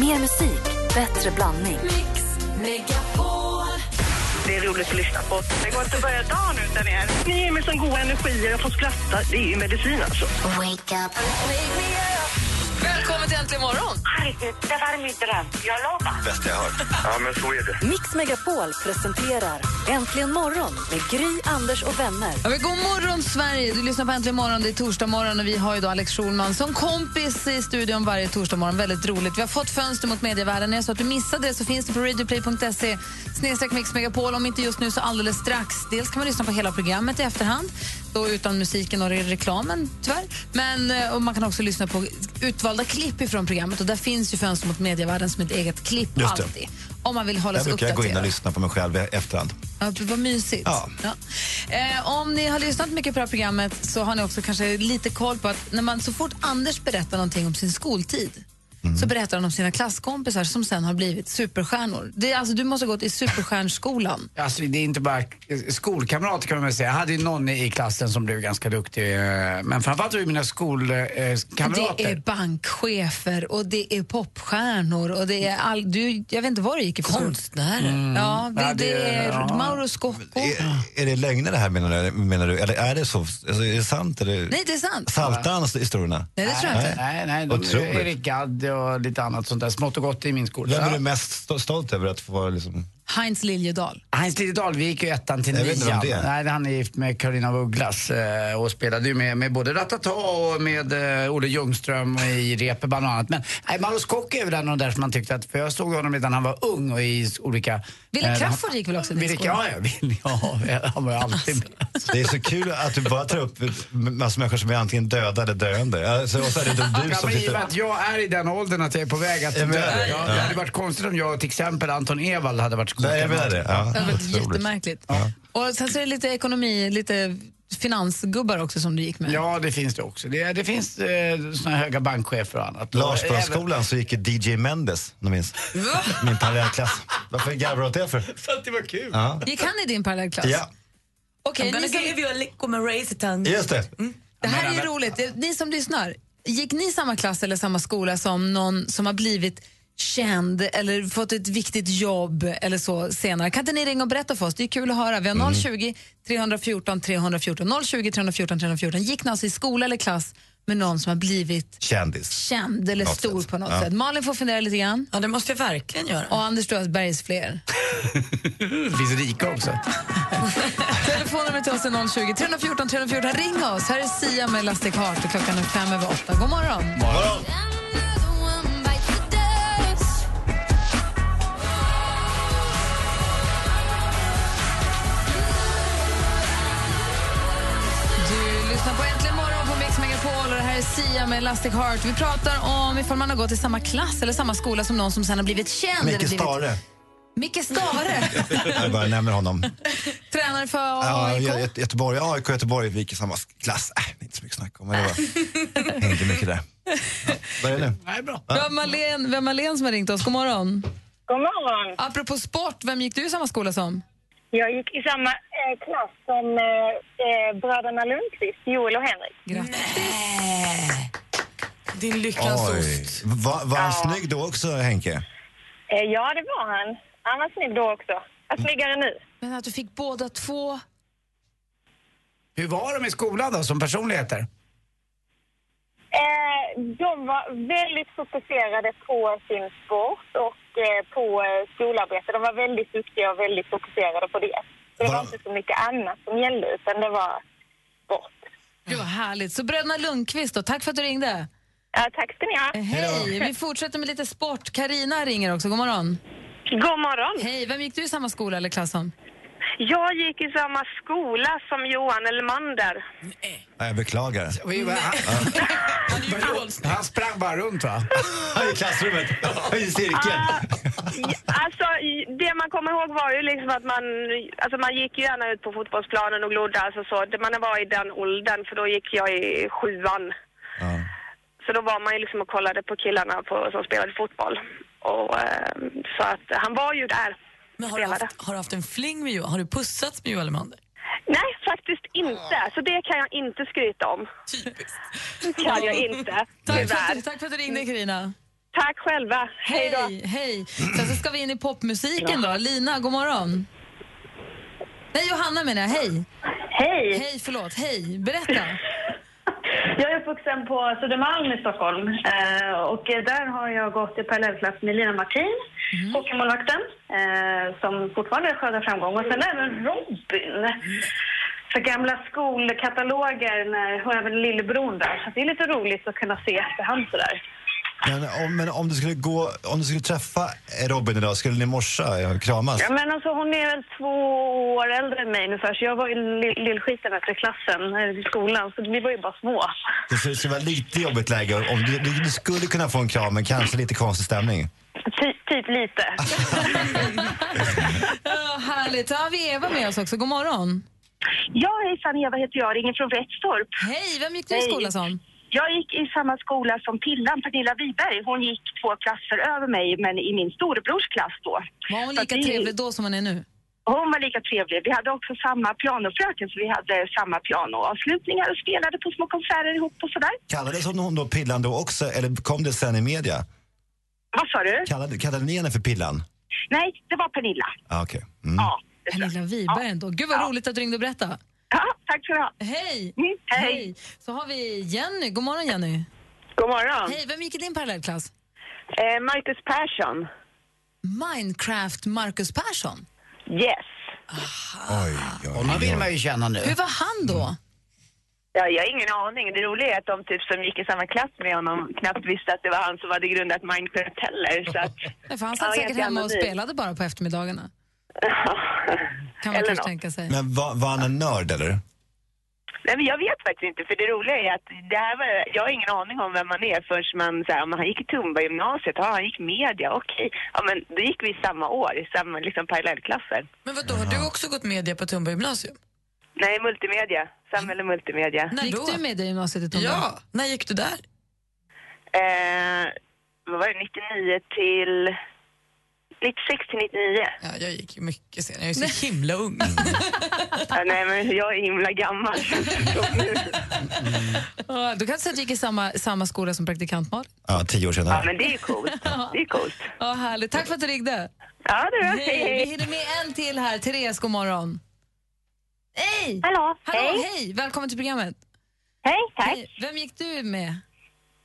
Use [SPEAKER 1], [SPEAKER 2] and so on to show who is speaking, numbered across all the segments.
[SPEAKER 1] Mer musik, bättre blandning.
[SPEAKER 2] Mix Megapol.
[SPEAKER 3] Det är roligt att lyssna på. Det går inte att börja dagen utan er. Ni ger mig sån god energi och jag får skratta. Det är ju medicin alltså.
[SPEAKER 2] Välkommen till Äntligen morgon!
[SPEAKER 4] Det var min dröm, jag lovar.
[SPEAKER 5] Bästa jag hört. Ja, men så är det.
[SPEAKER 1] Mix Megapol presenterar Äntligen morgon med Gry, Anders och vänner.
[SPEAKER 2] Ja, men god morgon, Sverige! Du lyssnar på Äntligen morgon. Det är torsdag morgon och vi har ju då Alex Schulman som kompis i studion varje torsdag morgon. Väldigt roligt. Vi har fått fönster mot medievärlden. Är det så att du missade det så finns det på radioplay.se snedstreck Mix Megapol. Om inte just nu så alldeles strax. Dels kan man lyssna på hela programmet i efterhand, då utan musiken och reklamen tyvärr. Men eh, och man kan också lyssna på utvalda klipp ifrån programmet och där finns ju fönster mot medievärlden som ett eget klipp
[SPEAKER 6] Just det.
[SPEAKER 2] alltid. Om man vill hålla
[SPEAKER 6] Där
[SPEAKER 2] sig
[SPEAKER 6] brukar jag gå in och
[SPEAKER 2] uppdaterad.
[SPEAKER 6] lyssna på mig själv i efterhand.
[SPEAKER 2] Ja, det var mysigt.
[SPEAKER 6] Ja.
[SPEAKER 2] Eh, om ni har lyssnat mycket på det här programmet så har ni också kanske lite koll på att när man, så fort Anders berättar någonting om sin skoltid så berättar han om sina klasskompisar som sen har blivit superstjärnor. Det, är alltså, du måste ha gått i superstjärnskolan.
[SPEAKER 7] Alltså det är inte bara skolkamrater kan man väl säga. Jag hade ju någon i klassen som blev ganska duktig. eh, Men framförallt var det mina eh,
[SPEAKER 2] Det är
[SPEAKER 7] skolkamrater.
[SPEAKER 2] bankchefer och det är popstjärnor och det är all, du, jag vet inte vad du gick i Konstnärer? Ja, det,
[SPEAKER 7] Ja,
[SPEAKER 2] det,
[SPEAKER 7] det-
[SPEAKER 2] är
[SPEAKER 7] ja.
[SPEAKER 2] Mauro Scocco.
[SPEAKER 6] Är, är det lögner det här menar du, menar du? Eller är det så? Alltså, är det sant? Eller?
[SPEAKER 2] Nej, det är sant.
[SPEAKER 6] Saltar han historierna?
[SPEAKER 2] Nej, det tror jag inte.
[SPEAKER 7] Nej, nej, de,
[SPEAKER 6] Otroligt.
[SPEAKER 7] Erik Gadd och lite annat sånt där. Smått och gott i min skola.
[SPEAKER 6] Vem är du mest sto- stolt över att få vara liksom...
[SPEAKER 2] Heinz Liljedahl.
[SPEAKER 7] Heinz Liljedahl, vi gick ju ettan till
[SPEAKER 6] Jag vet inte
[SPEAKER 7] nian.
[SPEAKER 6] vem det är.
[SPEAKER 7] Nej, han är gift med Karolina af Ugglas eh, och spelade ju med, med både Ratata och med eh, Olle Ljungström i Reeperbahn och annat. Men nej, Mauro Scocco är väl en av de där som man tyckte att, för jag såg honom redan när han var ung och i s- olika...
[SPEAKER 2] Wille
[SPEAKER 7] eh,
[SPEAKER 2] Crafoord gick väl också i din
[SPEAKER 7] Wille-
[SPEAKER 2] skola?
[SPEAKER 7] Ja, ja, Wille- ja, han var ju alltid med.
[SPEAKER 6] Det är så kul att du bara tar upp massor människor som är antingen döda eller döende. Alltså, och så är det då du
[SPEAKER 7] Ja,
[SPEAKER 6] som
[SPEAKER 7] men i och med
[SPEAKER 6] sitter...
[SPEAKER 7] att jag är i den åldern att jag är på väg att
[SPEAKER 6] Jag
[SPEAKER 7] dö.
[SPEAKER 6] menar det.
[SPEAKER 7] Ja, det hade varit konstigt om jag till exempel Anton Ewald hade varit
[SPEAKER 6] Nej, jag menar
[SPEAKER 7] skolkamrat.
[SPEAKER 6] det. Ja,
[SPEAKER 2] Det hade varit
[SPEAKER 6] otroligt.
[SPEAKER 2] jättemärkligt. Och sen så är det lite ekonomi, lite finansgubbar också som du gick med.
[SPEAKER 7] Ja, det finns det också. Det, det finns eh, såna här höga bankchefer och annat. Även-
[SPEAKER 6] Larsbrunnsskolan så gick ju DJ Mendes, om du minns. Min parallellklass. Varför garvar du åt det för?
[SPEAKER 7] För att det var kul.
[SPEAKER 6] Ja.
[SPEAKER 2] Gick han i din parallellklass?
[SPEAKER 6] ja,
[SPEAKER 2] Okej, ni som,
[SPEAKER 8] you a lick with my razor tongue.
[SPEAKER 6] just det.
[SPEAKER 2] Mm. det här är ju roligt. Det- Ni som lyssnar, gick ni i samma klass eller samma skola som någon som har blivit känd eller fått ett viktigt jobb eller så senare? Kan inte ni ringa och berätta för oss? Det är kul att höra. Vi har 020 314 314. 020 314 314. Gick ni alltså i skola eller klass med någon som har blivit
[SPEAKER 6] Kändis.
[SPEAKER 2] känd eller
[SPEAKER 6] Något
[SPEAKER 2] stor
[SPEAKER 6] sätt.
[SPEAKER 2] på något
[SPEAKER 6] Ja.
[SPEAKER 2] sätt? Malin får fundera lite grann.
[SPEAKER 8] Ja, det måste jag verkligen göra.
[SPEAKER 2] Och Anders Strömbergs fler.
[SPEAKER 7] Det finns rika också.
[SPEAKER 2] Telefonnumret till oss är 020 314 314. Ring oss. Här är Sia med Elastic Heart och klockan är fem över åtta. God morgon. Du lyssnar på Äntligen morgon på Mix Megapol och det här är Sia med Elastic Heart. Vi pratar om ifall man har gått i samma klass eller samma skola som någon som sen har blivit känd. eller
[SPEAKER 6] Micke
[SPEAKER 2] blivit-
[SPEAKER 6] Stare.
[SPEAKER 2] Micke Stare.
[SPEAKER 6] Jag bara nämner honom.
[SPEAKER 2] Tränare för
[SPEAKER 6] Ja,
[SPEAKER 2] AIK.
[SPEAKER 6] Gö- Gö- Göteborg, AIK Göteborg, vi gick i samma klass. Äh, det är inte så mycket snack om. Men det var inte mycket där. Ja, vad är det nu?
[SPEAKER 7] Nej, bra.
[SPEAKER 2] Vi har Malene, vi har Malene som har ringt oss. God morgon.
[SPEAKER 9] God morgon.
[SPEAKER 2] Apropå sport, vem gick du i samma skola som?
[SPEAKER 9] Jag gick i samma eh, klass som eh, eh, bröderna Lundqvist, Joel och Henrik.
[SPEAKER 8] Din lyckans
[SPEAKER 6] Oj.
[SPEAKER 8] ost.
[SPEAKER 6] Va, var han snygg då också, Henke?
[SPEAKER 9] Eh, ja, det var han. Han var snygg då också. Jag är snyggare nu.
[SPEAKER 2] Men att du fick båda två.
[SPEAKER 7] Hur var de i skolan då, som personligheter?
[SPEAKER 9] Eh, de var väldigt fokuserade på sin sport och eh, på eh, skolarbete. De var väldigt duktiga och väldigt fokuserade på det. Det
[SPEAKER 6] Va?
[SPEAKER 9] var inte så mycket annat som gällde, utan det var sport.
[SPEAKER 2] Gud vad härligt. Så bröderna Lundqvist då, tack för att du ringde.
[SPEAKER 9] Ja, tack ska ni ha.
[SPEAKER 2] Eh, Hej, vi fortsätter med lite sport. Karina ringer också, god morgon.
[SPEAKER 9] God morgon.
[SPEAKER 2] Hej, vem gick du i samma skola eller klass som?
[SPEAKER 9] Jag gick i samma skola som Johan Elmander.
[SPEAKER 6] Nej, jag beklagar.
[SPEAKER 7] Han, han sprang bara runt va?
[SPEAKER 6] I klassrummet, i cirkeln.
[SPEAKER 9] Ah, ja, alltså, i- det man kommer ihåg var ju liksom att man, alltså man gick ju gärna ut på fotbollsplanen och glodde. Alltså så, Det- man var i den åldern, för då gick jag i sjuan.
[SPEAKER 6] Ja.
[SPEAKER 9] Så då var man ju liksom och kollade på killarna på, som spelade fotboll. Och, eh, så att han var ju där.
[SPEAKER 8] Men har du,
[SPEAKER 9] Spelade.
[SPEAKER 8] haft, har du haft en fling med Johan? Har du pussats med Johan Lemander?
[SPEAKER 9] Nej, faktiskt inte. Så det kan jag inte skryta om.
[SPEAKER 8] Typiskt.
[SPEAKER 9] Kan jag inte.
[SPEAKER 2] Tack för,
[SPEAKER 9] Tyvärr.
[SPEAKER 2] att, tack för att du ringde Karina.
[SPEAKER 9] Tack själva. Hej då.
[SPEAKER 2] Hej, hej. Sen så ska vi in i popmusiken då. Lina, god morgon. Nej, Johanna menar jag. Hej.
[SPEAKER 10] Hej!
[SPEAKER 2] Hej, förlåt. Hej. Berätta.
[SPEAKER 10] Jag är uppvuxen på Södermalm i Stockholm eh, och där har jag gått i parallellklass med Lina Martin,
[SPEAKER 2] Mm.
[SPEAKER 10] hockeymålvakten, eh, som fortfarande skördar framgång och sen även Robin. För gamla skolkataloger när, och även lillebror där. Så det är lite roligt att kunna se efterhand sådär.
[SPEAKER 6] Men om, men om, du skulle gå, om du skulle träffa Robin idag, skulle ni morsa ja, kramas?
[SPEAKER 10] Ja, men alltså, hon är väl två år äldre än mig ungefär, så jag var ju lill- lillskiten efter klassen eh, i skolan, så vi var ju bara små.
[SPEAKER 6] Det skulle- skulle vara lite jobbigt läge. Om du, du, du skulle kunna få en kram, men kanske lite konstig stämning.
[SPEAKER 10] Ty- typ lite.
[SPEAKER 2] Ja, härligt. Ja, vi har Eva med oss också. God morgon.
[SPEAKER 10] Ja, hejsan, Eva heter jag, ringer från Rättstorp.
[SPEAKER 2] Hej, vem gick du i
[SPEAKER 10] Hej.
[SPEAKER 2] skola som?
[SPEAKER 10] Jag gick i samma skola som Pillan, Pernilla Wiberg. Hon gick två klasser över mig, men i min storebrors klass då.
[SPEAKER 2] Var hon
[SPEAKER 10] Så
[SPEAKER 2] lika
[SPEAKER 10] att vi-
[SPEAKER 2] trevlig då som hon är nu?
[SPEAKER 10] Hon var lika trevlig. Vi hade också samma pianofröken, så vi hade samma pianoavslutningar och spelade på små konserter ihop och sådär.
[SPEAKER 6] Kallades hon då Pillan då också, eller kom det sen i media?
[SPEAKER 10] Vad sa du?
[SPEAKER 6] Kallade, kallade ni henne för Pillan?
[SPEAKER 10] Nej, det var Pernilla.
[SPEAKER 6] Ah, Okej. Mm.
[SPEAKER 10] Ja.
[SPEAKER 2] Pernilla Wiberg ändå. Gud vad roligt att du ringde och berättade.
[SPEAKER 10] ja tack ska du ha.
[SPEAKER 2] Hej.
[SPEAKER 10] Mm, hej.
[SPEAKER 2] Så har vi Jenny. God morgon Jenny.
[SPEAKER 9] God morgon.
[SPEAKER 2] Hej, vem gick i din parallellklass?
[SPEAKER 9] Eh, Marcus Persson.
[SPEAKER 2] Minecraft Marcus Persson.
[SPEAKER 9] Yes.
[SPEAKER 6] Oj, oj,
[SPEAKER 7] Honom vill man ju känna Ah. nu.
[SPEAKER 2] Hur var han då?
[SPEAKER 9] Ja, jag har ingen aning. Det roliga är att de typ som gick i samma klass med honom knappt visste att det var han som hade grundat Minecraft heller. Så att,
[SPEAKER 2] Nej, För han
[SPEAKER 9] Ja,
[SPEAKER 2] satt säkert
[SPEAKER 9] ganska
[SPEAKER 2] hemma och
[SPEAKER 9] anonym.
[SPEAKER 2] spelade bara på eftermiddagarna. Kan man
[SPEAKER 9] Eller
[SPEAKER 2] kanske
[SPEAKER 9] något.
[SPEAKER 2] tänka sig.
[SPEAKER 6] Men var, var han en nörd eller?
[SPEAKER 9] Nej, men jag vet faktiskt inte, för det roliga är att det här var, jag har ingen aning om vem man är förrän man säger men han gick i Tumba-gymnasiet, ja, han gick media, okej. Ja, men då gick vi samma år, i samma liksom, parallellklasser.
[SPEAKER 8] Men vadå, har du också gått media på Tumba gymnasium?
[SPEAKER 9] Nej, multimedia. Samhälle multimedia.
[SPEAKER 8] När
[SPEAKER 2] Mm. Gick
[SPEAKER 8] då?
[SPEAKER 2] du med i gymnasiet i Tumba?
[SPEAKER 8] Ja, när gick du där?
[SPEAKER 9] Eh, vad var det, 99 till... 96 till 99.
[SPEAKER 8] Ja, jag gick ju mycket senare, jag är så himla ung.
[SPEAKER 9] Ja, nej, men jag är himla gammal.
[SPEAKER 2] Ja, Du kanske gick i samma, samma skola som praktikant Malin?
[SPEAKER 6] Ja, tio år
[SPEAKER 9] Ja,
[SPEAKER 6] senare.
[SPEAKER 9] men det är ju coolt. Det är coolt.
[SPEAKER 2] Ja, härligt. Tack för att du ringde.
[SPEAKER 9] Ja, det är bra. Hej,
[SPEAKER 2] Hej. Vi
[SPEAKER 9] hej.
[SPEAKER 2] hinner med en till här. Therese, god morgon. Hej!
[SPEAKER 10] Hallå,
[SPEAKER 2] Hallå, hej! Välkommen till programmet.
[SPEAKER 10] Hej,
[SPEAKER 2] Hej. Vem gick du med?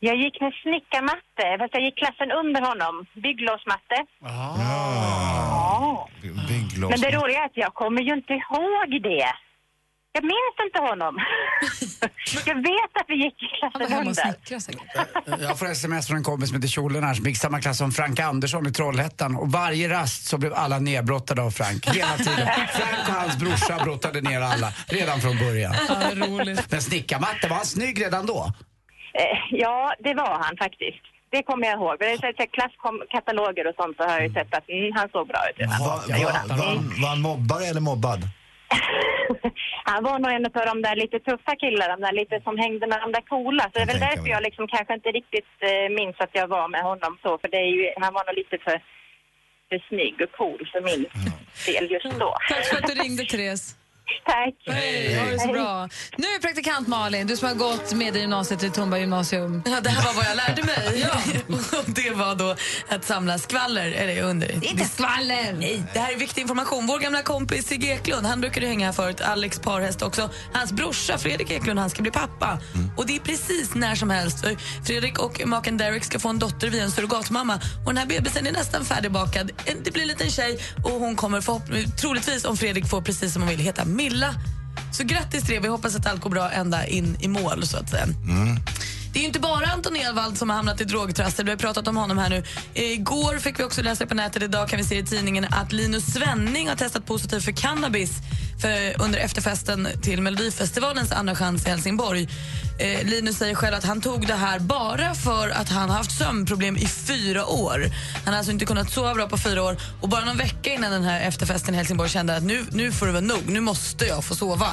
[SPEAKER 10] Jag gick med snickarmatte, fast jag gick klassen under honom. Bygglovsmatte.
[SPEAKER 6] Ah. By- Bygglovs...
[SPEAKER 10] Men det roliga är att jag kommer ju inte ihåg det. Jag minns inte honom. jag vet att vi gick i
[SPEAKER 2] Han var
[SPEAKER 10] klassen
[SPEAKER 2] hemma och
[SPEAKER 10] under.
[SPEAKER 2] snickrade säkert.
[SPEAKER 7] Jag får sms från en kompis som heter Kjolen här som gick i samma klass som Frank Andersson i Trollhättan och varje rast så blev alla nedbrottade av Frank. Hela tiden. Frank och hans brorsa brottade ner alla redan från början.
[SPEAKER 2] Ja, roligt.
[SPEAKER 7] Men snickarmatte, var han snygg redan då?
[SPEAKER 10] Eh, Ja, det var han faktiskt. Det kommer jag ihåg. Men det är så att jag klasskataloger och sånt så har jag ju sett att mm, han såg bra ut.
[SPEAKER 6] Var,
[SPEAKER 7] Jag
[SPEAKER 6] var,
[SPEAKER 7] hatar
[SPEAKER 6] var, han- var han mobbare eller mobbad?
[SPEAKER 10] han var nog en av de där lite tuffa killarna, de där lite som hängde med de där coola. Så det är väl
[SPEAKER 6] tänker
[SPEAKER 10] därför
[SPEAKER 6] mig.
[SPEAKER 10] jag liksom kanske inte riktigt eh, minns att jag var med honom så. För det är ju, han var nog lite för, för snygg och cool för min del just då.
[SPEAKER 2] Tack för att du ringde, Therese.
[SPEAKER 10] Tack!
[SPEAKER 2] Hej, ha det så bra. Nu är praktikant Malin, du som har gått med i gymnasiet i Tumba gymnasium.
[SPEAKER 8] Ja, det här var vad jag lärde mig. ja. Och det var då att samla skvaller, eller under.
[SPEAKER 2] Inte skvaller!
[SPEAKER 8] Nej, det här är viktig information. Vår gamla kompis Sigge Eklund, han brukade hänga här förut, Alex Parhäst också. Hans brorsa Fredrik Eklund, han ska bli pappa. Och det är precis när som helst. Fredrik och maken Derek ska få en dotter via en surrogatmamma. Och den här bebisen är nästan färdigbakad. Det blir en liten tjej och hon kommer förhopp- troligtvis, om Fredrik får precis som hon vill, heta Milla. Så grattis till det. Vi hoppas att allt går bra ända in i mål, så att säga. Det är ju inte bara Anton Edvald som har hamnat i drogtrassel. Vi har pratat om honom här nu. Igår fick vi också läsa på nätet, idag kan vi se i tidningen att Linus Svenning har testat positivt för cannabis för, under efterfesten till Melodifestivalens andra chans i Helsingborg. Eh, Linus säger själv att han tog det här bara för att han har haft sömnproblem i fyra år. Han har alltså inte kunnat sova bra på fyra år och bara någon vecka innan den här efterfesten i Helsingborg kände att nu, nu får det vara nog, nu måste jag få sova.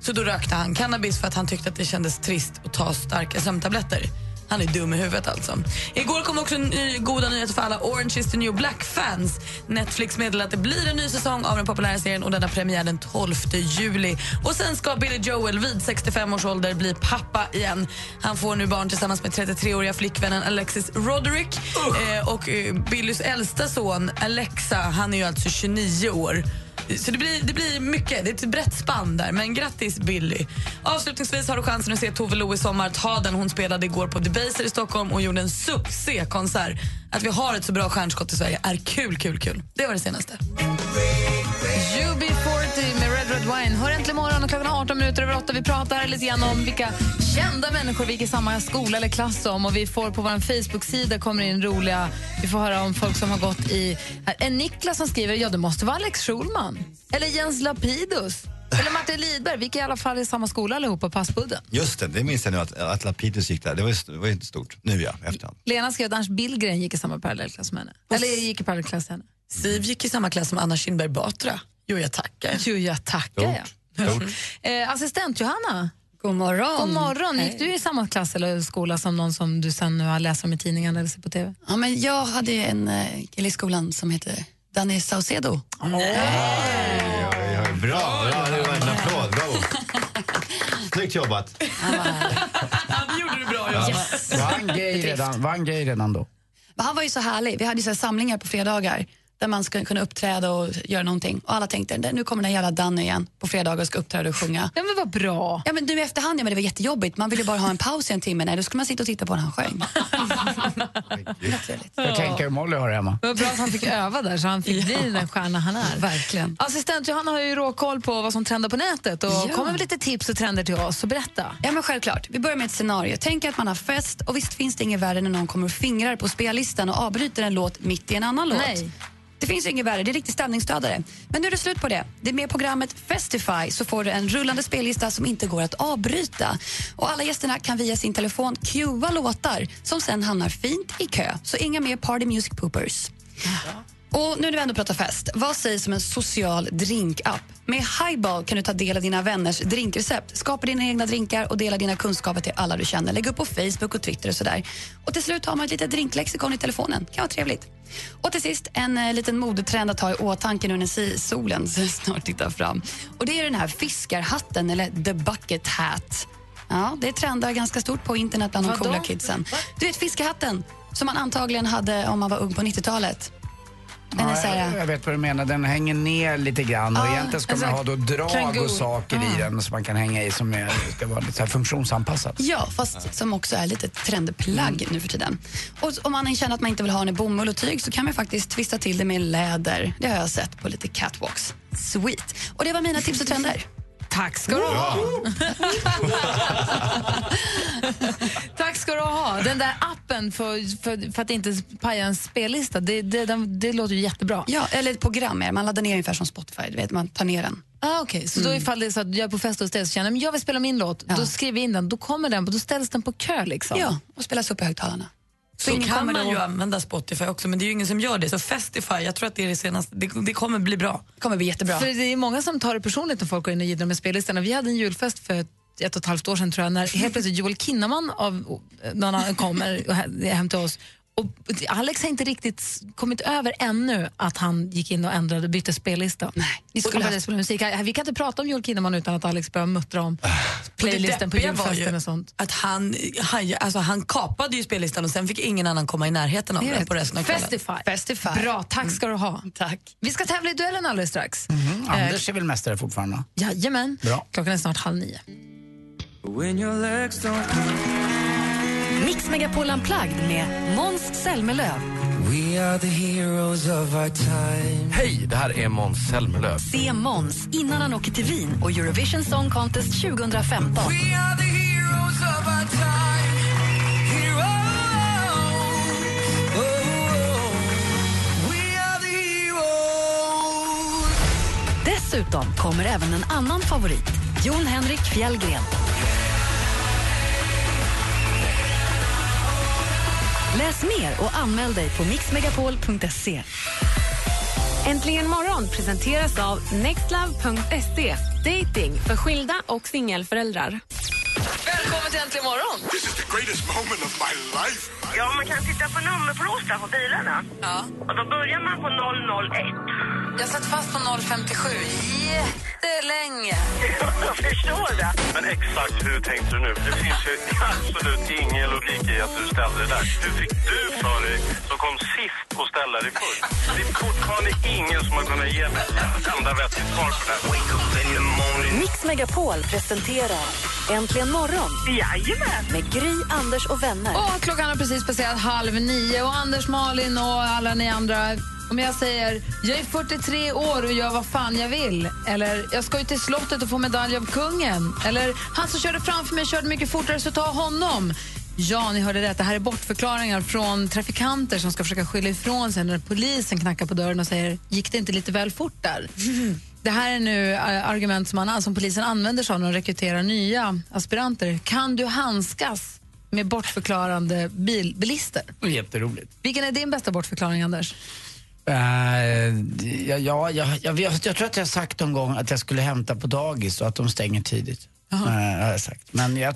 [SPEAKER 8] Så då rökte han cannabis för att han tyckte att det kändes trist att ta starka sömntabletter. Han är dum i huvudet alltså. Igår kom också ny, goda nyheter för alla Orange is the new black-fans. Netflix meddelade att det blir en ny säsong av den populära serien och den har premiär den 12 juli. Och sen ska Billy Joel vid 65 års ålder bli pappa igen. Han får nu barn tillsammans med 33-åriga flickvännen Alexis Roderick. Eh, och eh, Billys äldsta son Alexa, han är ju alltså 29 år. Så det blir, det blir mycket. Det är ett brett spann där. Men grattis Billy. Avslutningsvis har du chansen att se Tove Lo i sommar. Ta den. Hon spelade igår på Debaser i Stockholm och gjorde en succékonsert. Att vi har ett så bra stjärnskott i Sverige är kul, kul, kul. Det var det senaste.
[SPEAKER 2] UB40 med Red Red Wine. Hör äntligen morgon och klockan är 18 minuter över 8. Vi pratar lite grann om vilka kända människor vi gick i samma skola eller klass som. Och vi får på vår Facebook-sida kommer in roliga... Vi får höra om folk som har gått i... här, En Niklas som skriver ja det måste vara Alex Schulman. Eller Jens Lapidus. Eller Martin Lidberg. Vi gick i alla fall i samma skola allihopa, Passbudden.
[SPEAKER 11] Just det, det minns jag nu att, att Lapidus gick där. Det var, ju- det var ju inte stort. Nu ja, efterhand.
[SPEAKER 2] Lena skrev att Ernst Billgren gick i samma parallellklass som henne. Eller gick i parallellklass med henne.
[SPEAKER 8] Siv gick i samma klass som Anna Kinberg Batra. Jo, jag tackar.
[SPEAKER 2] Jo, jag tackar. Ja. Eh, assistent Johanna.
[SPEAKER 12] God morgon.
[SPEAKER 2] God morgon. Gick du i samma klass eller skola som någon som du sen nu har läst om i tidningen eller ser på TV?
[SPEAKER 12] Ja, men jag hade ju en eh, kille i skolan som heter Danny Saucedo.
[SPEAKER 11] Bra, bra. Det var en applåd. Bravo. Snyggt jobbat.
[SPEAKER 8] det gjorde du bra,
[SPEAKER 11] ja.
[SPEAKER 12] Yes.
[SPEAKER 7] Var han gay redan, var han gay redan då?
[SPEAKER 12] Men han var ju så härlig. Vi hade ju så här samlingar på fredagar där man skulle kunna uppträda och göra någonting. Och alla tänkte, "Där- nu kommer den här jävla Danny igen på fredagar och ska uppträda och sjunga.
[SPEAKER 2] Ja men vad bra.
[SPEAKER 12] Ja men nu i efterhand, ja men det var jättejobbigt. Man ville bara ha en paus i en timme. Nej, då skulle man sitta och titta på när han sjöng.
[SPEAKER 7] Jag tänker hur Molly har det hemma.
[SPEAKER 2] Det var bra att han fick öva där så han fick bli den stjärna han är. Verkligen. Assistent Johanna har ju råkoll på vad som trendar på nätet och
[SPEAKER 12] Ja.
[SPEAKER 2] kommer med lite tips och trender till oss. Så berätta.
[SPEAKER 12] Ja, men självklart. Vi börjar med ett scenario. Tänk att man har fest och visst finns det inget värre när någon kommer och fingrar på spellistan och avbryter en låt mitt i en annan låt.
[SPEAKER 2] Nej.
[SPEAKER 12] Det finns ju inget värre, det är riktigt stämningsdödare. Men nu är det slut på det. Det är med programmet Festify så får du en rullande spellista som inte går att avbryta. Och alla gästerna kan via sin telefon cuea låtar som sen hamnar fint i kö. Så inga mer party music poopers. Och nu när vi ändå pratar fest, vad sägs om en social drinkapp? Med Highball kan du ta del av dina vänners drinkrecept, skapa dina egna drinkar och dela dina kunskaper till alla du känner. Lägg upp på Facebook och Twitter och sådär. Och till slut har man ett litet drinklexikon i telefonen. Kan vara trevligt. Och till sist, en eh, liten modetrend att ha i åtanke nu när si- solen snart tittar fram. Och det är den här fiskarhatten, eller the bucket hat. Ja, det trendar ganska stort på internet bland de
[SPEAKER 2] Vadå?
[SPEAKER 12] coola kidsen. Du vet fiskehatten som man antagligen hade om man var ung på 90-talet. Den är
[SPEAKER 7] Ja,
[SPEAKER 12] så
[SPEAKER 7] jag,
[SPEAKER 12] här,
[SPEAKER 7] jag vet vad du menar, den hänger ner lite grann och
[SPEAKER 12] Ja,
[SPEAKER 7] egentligen ska man
[SPEAKER 12] exakt.
[SPEAKER 7] ha då drag
[SPEAKER 12] Kangol.
[SPEAKER 7] och saker i den som man kan hänga i som är, ska vara lite så här funktionsanpassat.
[SPEAKER 12] ja, fast som också är lite trendplagg nu för tiden. Och om man känner att man inte vill ha den i bomull och tyg så kan man faktiskt twista till det med läder. Det har jag sett på lite catwalks. Sweet. Och det var mina tips och trender.
[SPEAKER 2] Tack ska du ha. Tack ska du ha. Den där appen för, för, för att inte paja en spellista, det, det, den, det låter ju jättebra.
[SPEAKER 12] Ja, eller ett program är det. Man laddar ner ungefär som Spotify, du vet, man tar ner den.
[SPEAKER 2] Ah, okay. Så då ifall det är så att jag är på fest hos dig och känner men jag vill spela min låt, då skriver jag in den, då kommer den, då ställs den på kö liksom.
[SPEAKER 12] Ja, och spelas upp i högtalarna.
[SPEAKER 8] Så
[SPEAKER 12] ingen
[SPEAKER 8] kan
[SPEAKER 12] kommer
[SPEAKER 8] man
[SPEAKER 12] då-
[SPEAKER 8] ju använda Spotify också, men det är ju ingen som gör det. Så Festify, jag tror att det är det senaste. Det, det kommer bli bra.
[SPEAKER 12] Det kommer bli jättebra.
[SPEAKER 2] För det är många som tar det personligt när folk går in och jiddrar med spellistorna. Vi hade en julfest för ett ett och ett halvt år sedan tror jag, när helt plötsligt Joel Kinnaman av någon annan kommer och he- hem till oss. Och Alex har inte riktigt s- kommit över ännu att han gick in och ändrade, bytte spellista. Nej,
[SPEAKER 12] ni skulle
[SPEAKER 2] och började
[SPEAKER 12] haft-
[SPEAKER 2] spela musik. Vi kan inte prata om Joel Kinnaman utan att Alex börjar muttra om
[SPEAKER 8] Och det
[SPEAKER 2] playlisten på
[SPEAKER 8] deppiga var
[SPEAKER 2] julfesten
[SPEAKER 8] ju
[SPEAKER 2] och sånt.
[SPEAKER 8] Att han, han, alltså han kapade ju spellistan och sen fick ingen annan komma i närheten av den på resten av kvällen.
[SPEAKER 2] Festify.
[SPEAKER 12] Festify.
[SPEAKER 2] Bra, tack ska du ha.
[SPEAKER 12] Tack.
[SPEAKER 2] Vi ska tävla i duellen alldeles strax.
[SPEAKER 7] Mhm. Anders är väl mästare fortfarande? va?
[SPEAKER 2] Jajamän.
[SPEAKER 7] Bra.
[SPEAKER 2] Klockan är snart halv nio.
[SPEAKER 1] Mix Megapol Unplugged med Måns Zelmerlöw.
[SPEAKER 13] Hej, det här är Måns Zelmerlöw.
[SPEAKER 1] Se Måns innan han åker till Wien och Eurovision Song Contest 2015. Dessutom kommer även en annan favorit, Jon Henrik Fjällgren. Läs mer och anmäl dig på mixmegapol.se.
[SPEAKER 14] Äntligen morgon presenteras av nextlove.se. Dating för skilda och singelföräldrar.
[SPEAKER 8] Välkommen
[SPEAKER 2] till Äntligen morgon.
[SPEAKER 11] This is the greatest moment of my life.
[SPEAKER 9] Ja, man kan titta på nummerplåtar på bilarna. Ja. Och då börjar man på 001.
[SPEAKER 2] Jag satt fast på 057 jättelänge.
[SPEAKER 9] Jag förstår det.
[SPEAKER 5] Men exakt hur tänkte du nu? För Det finns ju absolut ingen logik i att du ställde det där. Hur fick du för dig som kom sist och ställa dig först? Det är fortfarande ingen som har kunnat ge mig ett enda vettigt svar på det här. Wake up in the morning.
[SPEAKER 1] Mix Megapol presenterar Äntligen morgon
[SPEAKER 9] Jajamän.
[SPEAKER 1] med Gry, Anders och vänner.
[SPEAKER 2] Och klockan har precis passerat halv nio och Anders, Malin och alla ni andra om jag säger jag är 43 år och gör vad fan jag vill eller jag ska ju till slottet och få medalj av kungen eller han som körde framför mig körde mycket fortare så ta honom. Ja, ni hörde rätt. Det här är bortförklaringar från trafikanter som ska försöka skylla ifrån sig när polisen knackar på dörren och säger gick det inte lite väl fort där? Det här är nu eh, argument som, man, som polisen använder sig av när de rekryterar nya aspiranter. Kan du handskas med bortförklarande bil, bilister?
[SPEAKER 7] Jätteroligt.
[SPEAKER 2] Vilken är din bästa bortförklaring, Anders?
[SPEAKER 7] Eh, ja, ja, ja, jag, jag, jag tror att jag har sagt någon gång att jag skulle hämta på dagis och att de stänger tidigt.
[SPEAKER 2] Jaha.
[SPEAKER 7] Eh, har jag sagt. Men jag,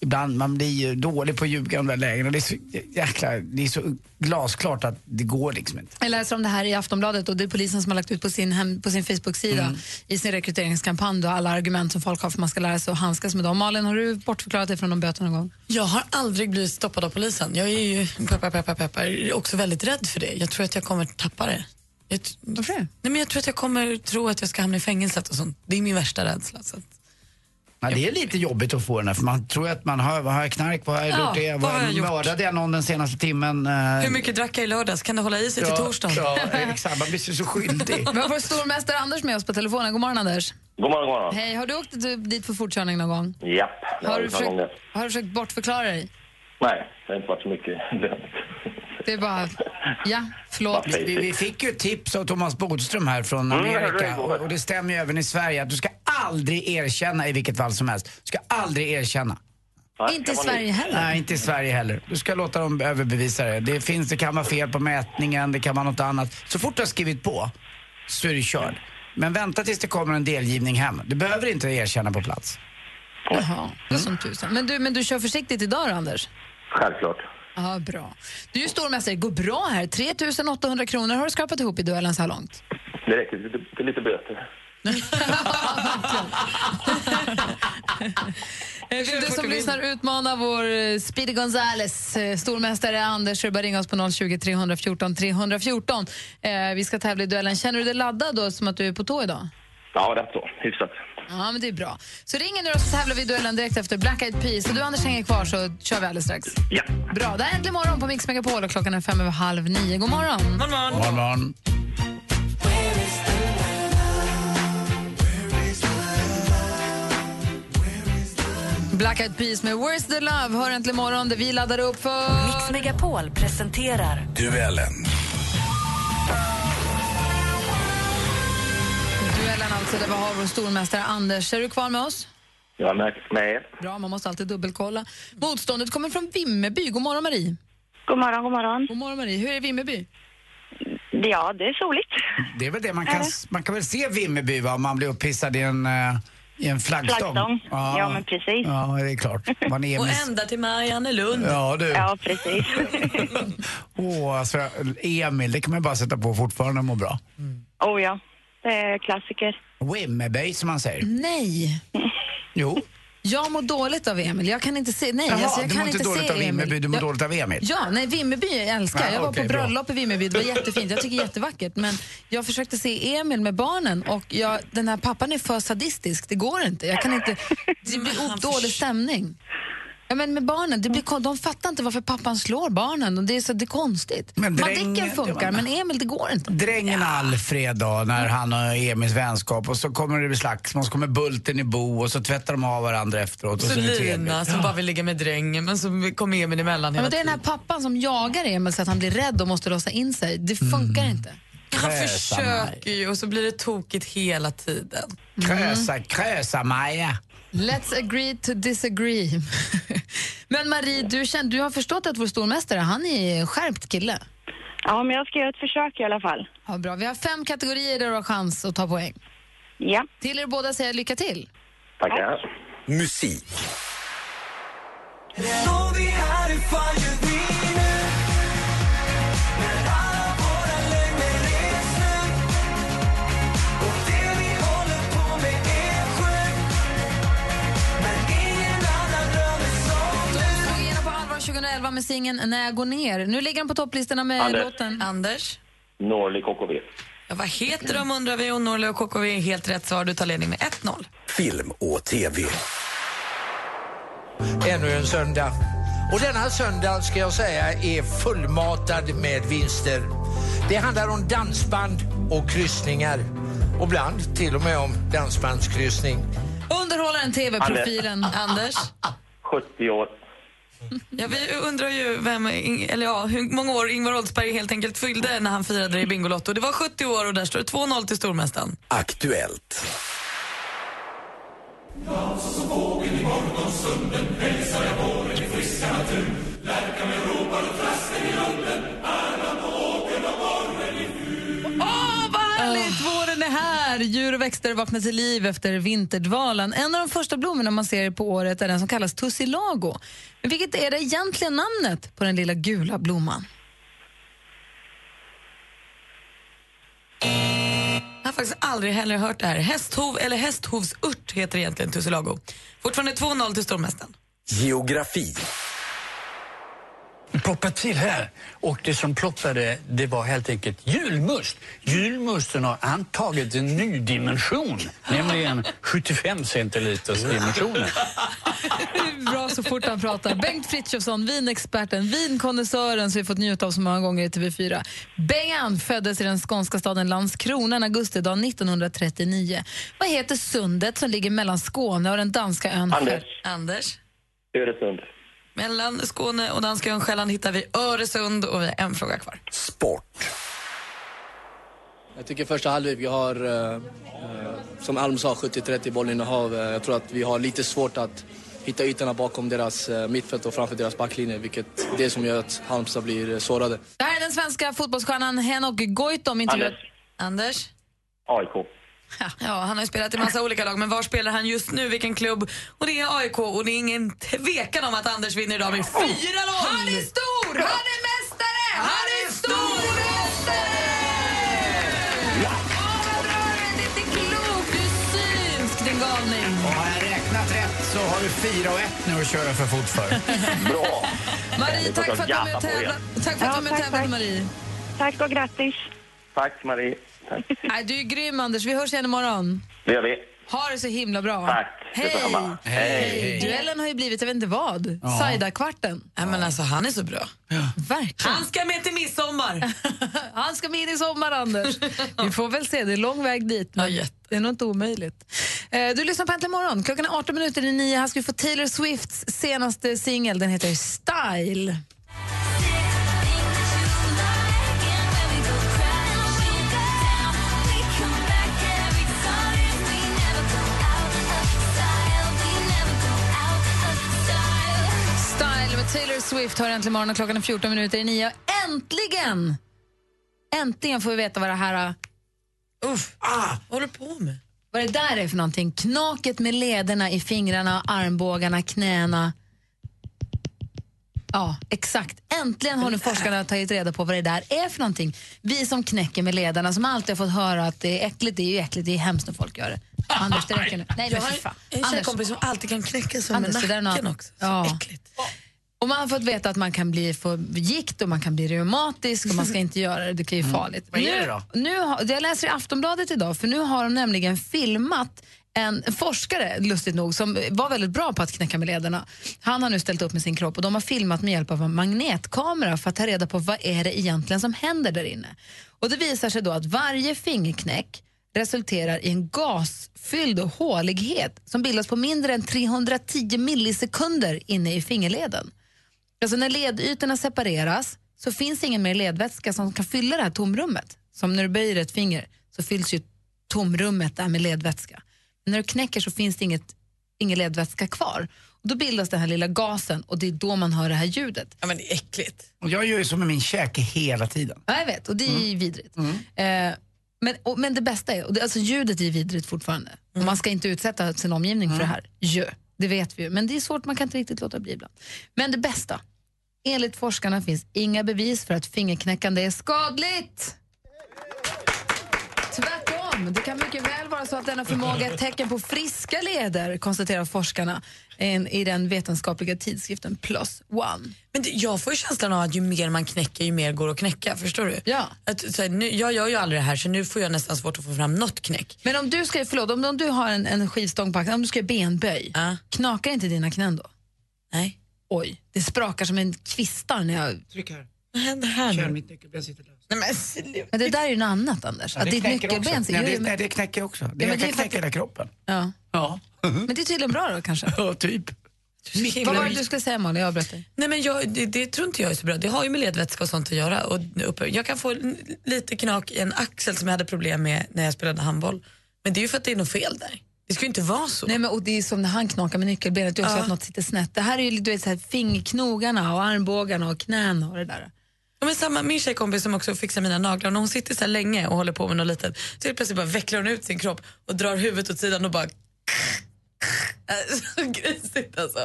[SPEAKER 7] ibland, man blir ju dålig på att ljuga i de där lägena. Det är så, jäkla, det är så glasklart att det går liksom inte.
[SPEAKER 2] Jag läser om det här i Aftonbladet och det är polisen som har lagt ut på sin, hem, på sin Facebook-sida i sin rekryteringskampanj då, alla argument som folk har för att man ska lära sig att handskas med dem. Malin, har du bortförklarat dig från de böterna någon gång?
[SPEAKER 8] Jag har aldrig blivit stoppad av polisen. Jag är ju peppar, peppar, peppar, också väldigt rädd för det. Jag tror att jag kommer tappa det. Jag, Varför
[SPEAKER 2] det?
[SPEAKER 8] Nej, men jag tror att jag kommer tro att jag ska hamna i fängelset och sånt. Det är min värsta rädsla. Så att,
[SPEAKER 7] Ja, det är lite jobbigt att få den här för man tror att man har, vad har jag knark på, har jag
[SPEAKER 8] Ja,
[SPEAKER 7] gjort det,
[SPEAKER 8] vad
[SPEAKER 7] vad
[SPEAKER 8] har jag gjort?
[SPEAKER 7] mördade jag någon den senaste timmen? Eh,
[SPEAKER 8] hur mycket drack jag i lördags? Kan det hålla i sig
[SPEAKER 7] ja,
[SPEAKER 8] till torsdagen?
[SPEAKER 7] Ja, exakt. Man blir så- så skyldig.
[SPEAKER 2] Vi har vår stormästare Anders med oss på telefonen. God morgon, Anders.
[SPEAKER 5] God morgon, god morgon.
[SPEAKER 2] Hej, har du åkt du- dit för fortkörning någon gång?
[SPEAKER 5] Japp, det
[SPEAKER 2] Har
[SPEAKER 5] har
[SPEAKER 2] du
[SPEAKER 5] vi tagit om det.
[SPEAKER 2] försökt, har du försökt bortförklara dig?
[SPEAKER 5] Nej, det har inte varit så mycket lönt.
[SPEAKER 2] Det är bara, ja, förlåt.
[SPEAKER 7] Vi, vi, vi fick ju ett tips av Thomas Bodström här från
[SPEAKER 5] Mm, jag hörde det
[SPEAKER 7] Amerika
[SPEAKER 5] igår.
[SPEAKER 7] och, och det stämmer ju även i Sverige att du ska aldrig erkänna i vilket fall som helst. Du ska aldrig erkänna.
[SPEAKER 2] Inte i Sverige heller.
[SPEAKER 7] Nej, inte i Sverige heller. Du ska låta dem överbevisa det. Det, finns, det kan vara fel på mätningen, det kan vara något annat. Så fort du har skrivit på så är du körd. Men vänta tills det kommer en delgivning hem. Du behöver inte erkänna på plats.
[SPEAKER 2] Jaha, det var som tusan. Men du, men du kör försiktigt idag då, Anders?
[SPEAKER 5] Självklart.
[SPEAKER 2] Ja, bra. Du är ju stormästare, det går bra här. 3 800 kronor har du skrapat ihop i duellen så här långt.
[SPEAKER 5] Det räcker till lite, till lite böter.
[SPEAKER 2] Eh, Vill du som lyssnar utmana vår eh, Speedy Gonzales, eh, stormästare Anders, så är det bara ringa oss på 020 314 314. Eh, vi ska tävla i duellen. Känner du dig laddad då, som att du är på tå idag?
[SPEAKER 5] Ja, rätt så. Hyfsat.
[SPEAKER 2] Ja, men det är bra. Så ringer nu och så tävlar vi i duellen direkt efter Black Eyed Peas. Så du Anders hänger kvar så kör vi alldeles strax.
[SPEAKER 5] Ja.
[SPEAKER 2] Bra, det här är Äntligen morgon på Mix Megapol och klockan är fem över halv nio. God morgon!
[SPEAKER 8] God morgon.
[SPEAKER 7] God morgon.
[SPEAKER 2] Black Eyed Peas med Where's the Love hör Äntligen morgon där vi laddar upp för...
[SPEAKER 1] Mix Megapol presenterar
[SPEAKER 11] Duellen.
[SPEAKER 2] Duellen alltså, där vi har vår stormästare Anders. Är du kvar med oss?
[SPEAKER 5] Jag har märkt med.
[SPEAKER 2] Bra, man måste alltid dubbelkolla. Motståndet kommer från Vimmerby. God morgon, Marie.
[SPEAKER 10] God morgon, god morgon.
[SPEAKER 2] God morgon, Marie. Hur är Vimmerby?
[SPEAKER 10] Ja, det är soligt.
[SPEAKER 7] Det är väl det man kan, man kan väl se Vimmerby va, om man blir upphissad i en, eh, i en flaggstång.
[SPEAKER 10] Flaggstång. Ja, men precis.
[SPEAKER 7] Ja, det är klart. Man är
[SPEAKER 8] Och
[SPEAKER 7] Emils,
[SPEAKER 8] ända till Mariannelund.
[SPEAKER 7] Ja, du.
[SPEAKER 10] Ja, precis.
[SPEAKER 7] Åh, alltså, Emil, det kan man ju bara sätta på fortfarande och må bra.
[SPEAKER 10] oh ja, det
[SPEAKER 9] Eh,
[SPEAKER 10] är klassiker.
[SPEAKER 7] Wimmerby som man säger.
[SPEAKER 2] Nej.
[SPEAKER 7] Jo.
[SPEAKER 2] Jag mår dåligt av Emil. Jag kan inte se... Nej,
[SPEAKER 7] Jaha,
[SPEAKER 2] alltså, jag
[SPEAKER 7] du
[SPEAKER 2] kan
[SPEAKER 7] mår inte dåligt
[SPEAKER 2] se
[SPEAKER 7] av Vimmerby,
[SPEAKER 2] Emil.
[SPEAKER 7] du mår
[SPEAKER 2] jag...
[SPEAKER 7] dåligt av Emil.
[SPEAKER 2] Ja, nej, Vimmerby jag älskar.
[SPEAKER 7] Ja,
[SPEAKER 2] jag var
[SPEAKER 7] okej,
[SPEAKER 2] på
[SPEAKER 7] bra.
[SPEAKER 2] bröllop i Vimmerby. Det var jättefint. Jag tycker det är jättevackert. Men jag försökte se Emil med barnen och jag, den här pappan är för sadistisk. Det går inte. Jag kan inte... Det blir upp dålig stämning. Ja, men med barnen, det blir, kon- de fattar inte varför pappan slår barnen. Och det, är så, det är konstigt.
[SPEAKER 7] Men drängen-
[SPEAKER 2] Madicken funkar, men Emil, det går inte.
[SPEAKER 7] Drängen Alfred då, när han och Emils vänskap och så kommer det bli slagsmål, så kommer Bulten i bo och så tvättar de av varandra efteråt. Och så är det
[SPEAKER 8] Lina
[SPEAKER 7] trevligt.
[SPEAKER 8] som bara vill ligga med drängen men som kommer Emil emellan
[SPEAKER 2] Ja,
[SPEAKER 8] hela
[SPEAKER 2] men det är
[SPEAKER 8] tiden.
[SPEAKER 2] den här pappan som jagar Emil så att han blir rädd och måste låsa in sig. Det funkar
[SPEAKER 7] Mm.
[SPEAKER 2] inte.
[SPEAKER 8] Han
[SPEAKER 7] Kräsa
[SPEAKER 8] försöker ju och så blir det tokigt hela tiden.
[SPEAKER 2] Mm.
[SPEAKER 7] Krösa, krösa Maja.
[SPEAKER 2] Let's agree to disagree. men Marie, du, känner, du har förstått att vår stormästare, han är en skärpt kille.
[SPEAKER 10] Ja, men jag ska göra ett försök i alla fall.
[SPEAKER 2] Ja, bra. Vi har fem kategorier där du har chans att ta poäng.
[SPEAKER 10] Ja.
[SPEAKER 2] Till er båda säger jag lycka till.
[SPEAKER 5] Tackar.
[SPEAKER 11] Musik.
[SPEAKER 2] Slog igenom på allvar 2011 med singeln När jag går ner. Nu ligger den på topplistorna med
[SPEAKER 15] Anders.
[SPEAKER 2] låten... Anders.
[SPEAKER 15] Norli KKV.
[SPEAKER 8] Ja, vad heter de undrar vi och Norli och KKV är helt rätt svar. Du tar ledning med 1-0.
[SPEAKER 16] Film och TV.
[SPEAKER 17] Ännu en söndag. Och denna söndag ska jag säga är fullmatad med vinster. Det handlar om dansband och kryssningar. Och ibland till och med om dansbandskryssning.
[SPEAKER 2] Underhållaren, TV-profilen Anders.
[SPEAKER 15] 70 år.
[SPEAKER 8] Ja, vi undrar ju vem, Ing- eller ja, hur många år Ingvar Oldsberg helt enkelt fyllde när han firade i Bingolotto. Det var 70 år och där står det 2-0 till stormästaren.
[SPEAKER 16] Aktuellt.
[SPEAKER 2] Åh, vad härligt! Våren är här! Djur och växter vaknar till liv efter vinterdvalan. En av de första blommorna man ser på året är den som kallas tussilago. Men vilket är det egentliga namnet på den lilla gula blomman?
[SPEAKER 8] Jag har faktiskt aldrig heller hört det här. Hästhov eller hästhovsört heter egentligen tussilago. Fortfarande 2-0 till stormästaren.
[SPEAKER 16] Geografi.
[SPEAKER 18] ploppa till här. Och det som ploppade, det var helt enkelt julmust. Julmusten har antagit en ny dimension, nämligen 75 centiliters dimensionen.
[SPEAKER 2] Bra så fort han pratar. Bengt Frithiofsson, vinexperten, vinkonnässören som vi fått njuta av så många gånger i TV4. Bengan föddes i den skånska staden Landskrona en augustidag 1939. Vad heter sundet som ligger mellan Skåne och den danska ön Sjö-
[SPEAKER 8] Anders. Anders.
[SPEAKER 15] Öresund.
[SPEAKER 8] Mellan Skåne och danska ön Själland hittar vi Öresund och vi har en fråga kvar.
[SPEAKER 19] Jag tycker första halvlek, vi har, eh, eh, som Alm sa, 70-30 bollinnehav. Eh, Jag tror att vi har lite svårt att hitta ytorna bakom deras eh, mittfält och framför deras backlinje, vilket det är som gör att Halmstad blir eh, sårade.
[SPEAKER 2] Det här är den svenska fotbollsstjärnan Henok Goitom intervjuad... Anders.
[SPEAKER 15] AIK.
[SPEAKER 8] Ja, han har ju spelat i massa olika lag, men var spelar han just nu? Vilken klubb? Och det är AIK och det är ingen tvekan om att Anders vinner idag med 4-0!
[SPEAKER 2] Oh!
[SPEAKER 8] Han är stor! Han är mästare! Han är
[SPEAKER 2] Synsk, din galning!
[SPEAKER 7] Och har jag räknat rätt så har du 4 och 1 nu att köra för fort för. Bra!
[SPEAKER 2] Marie, tack för att du är med och tävlar. Tack för att du är med och tävlar, Marie. Tack och grattis.
[SPEAKER 15] Tack Marie. Tack.
[SPEAKER 2] Nej, du är grym, Anders. Vi hörs igen imorgon.
[SPEAKER 15] Det gör vi.
[SPEAKER 2] Ha det så himla bra.
[SPEAKER 15] Tack.
[SPEAKER 2] Hej!
[SPEAKER 15] Detsamma.
[SPEAKER 2] Hej. Duellen har ju blivit, jag vet inte vad,
[SPEAKER 8] Ja.
[SPEAKER 2] Saida-kvarten.
[SPEAKER 8] Nej, men alltså, han är så bra.
[SPEAKER 2] Verkligen.
[SPEAKER 8] Han ska med till midsommar!
[SPEAKER 2] Han ska med in i sommar, Anders. Vi får väl se, det är lång väg dit. Men det är nog inte omöjligt. Eh, Du lyssnar på Äntligen morgon. Klockan är 18 minuter i nio. Här ska vi få Taylor Swifts senaste singel. Den heter Style. Style med Taylor Swift hör äntligen morgon och klockan är 14 minuter i nio. Äntligen! Äntligen får vi veta vad det här... äh, Uff, ah, vad håller på med? Vad det där är för någonting. Knaket med lederna i fingrarna, armbågarna, knäna. Ja, exakt. Äntligen har nu forskarna tagit reda på vad det där är för någonting. Vi som knäcker med lederna, som alltid har fått höra att det är äckligt, det är ju äckligt, det är hemskt när folk gör det. Anders, det räcker nu. Nej,
[SPEAKER 8] jag
[SPEAKER 2] men
[SPEAKER 8] har
[SPEAKER 2] fy
[SPEAKER 8] en-
[SPEAKER 2] fan.
[SPEAKER 8] en tjejkompis som alltid kan knäcka sig med
[SPEAKER 2] Anders, det där är något-
[SPEAKER 8] nacken också. Så
[SPEAKER 2] Ja.
[SPEAKER 8] äckligt.
[SPEAKER 2] Och man har fått veta att man kan bli få gikt och man kan bli reumatisk och man ska inte göra det, det kan ju vara farligt.
[SPEAKER 8] Mm. Vad är
[SPEAKER 2] Nu-
[SPEAKER 8] det då?
[SPEAKER 2] Nu har, jag läser i Aftonbladet idag, för nu har de nämligen filmat en forskare, lustigt nog, som var väldigt bra på att knäcka med lederna. Han har nu ställt upp med sin kropp och de har filmat med hjälp av en magnetkamera för att ta reda på vad är det egentligen som händer där inne. Och det visar sig då att varje fingerknäck resulterar i en gasfylld hålighet som bildas på mindre än 310 millisekunder inne i fingerleden. Alltså när ledytorna separeras så finns ingen mer ledvätska som kan fylla det här tomrummet. Som när du böjer ett finger så fylls ju tomrummet där med ledvätska. Men när du knäcker så finns det inget, ingen ledvätska kvar. Och då bildas den här lilla gasen och det är då man hör det här ljudet.
[SPEAKER 8] Ja, men det är äckligt.
[SPEAKER 7] Och jag gör ju så med min käke hela tiden. Mm.
[SPEAKER 2] Ja, jag vet, och det är ju vidrigt. Eh, men, och, men det bästa är, och det, alltså ljudet är vidrigt fortfarande. Och man ska inte utsätta sin omgivning för det här. Jö. Det vet vi ju, men det är svårt, man kan inte riktigt låta bli ibland. Men det bästa, enligt forskarna finns inga bevis för att fingerknäckande är skadligt. Tvärtom, det kan mycket väl vara så att denna förmåga är ett tecken på friska leder, konstaterar forskarna en- i den vetenskapliga tidskriften Plus One.
[SPEAKER 8] Men det- jag får ju känslan av att ju mer man knäcker ju mer går att knäcka, förstår du?
[SPEAKER 2] Ja.
[SPEAKER 8] Att, så här, nu, jag gör ju aldrig det här så nu får jag nästan svårt att få fram något knäck.
[SPEAKER 2] Men om du ska, förlåt, om, om du har en, en skivstång på axeln, om du ska göra benböj, knakar inte dina knän då?
[SPEAKER 8] Nej.
[SPEAKER 2] Oj, det sprakar som en kvistar när jag...
[SPEAKER 20] Tryck här.
[SPEAKER 8] Vad händer här
[SPEAKER 20] Kör
[SPEAKER 2] nu?
[SPEAKER 20] mitt nyckelben sitter löst.
[SPEAKER 8] Nej, men,
[SPEAKER 2] Men det där är ju något annat, Anders.
[SPEAKER 7] Ja,
[SPEAKER 2] att ditt
[SPEAKER 7] knäcker också.
[SPEAKER 2] nyckelben...
[SPEAKER 7] Nej,
[SPEAKER 2] Jo,
[SPEAKER 7] det,
[SPEAKER 2] men-
[SPEAKER 7] nej, det knäcker också. Det,
[SPEAKER 2] men
[SPEAKER 7] jag
[SPEAKER 2] det
[SPEAKER 7] kan
[SPEAKER 2] är för att
[SPEAKER 7] knäcka hela kroppen.
[SPEAKER 2] Ja.
[SPEAKER 7] Ja.
[SPEAKER 2] Men det är tydligen bra då kanske?
[SPEAKER 7] Ja, typ.
[SPEAKER 2] Vad var det du skulle säga Malin? Jag avbröt dig.
[SPEAKER 8] Nej, men jag, det, det tror inte jag är så bra. Det har ju med ledvätska och sånt att göra. Och uppe, jag kan få n- lite knak i en axel som jag hade problem med när jag spelade handboll. Men det är ju för att det är något fel där. Det ska ju inte vara så.
[SPEAKER 2] Nej, men, och det är som när han knakar med nyckelbenet, det är också
[SPEAKER 8] Ja.
[SPEAKER 2] att något sitter snett. Det här är ju du vet, så här, fingerknogarna och armbågarna och knäna och det där.
[SPEAKER 8] Ja, men samma, min tjejkompis som också fixar mina naglar, när hon sitter så här länge och håller på med något litet så helt plötsligt bara vecklar hon ut sin kropp och drar huvudet åt sidan och bara... Äh, Så grisigt alltså.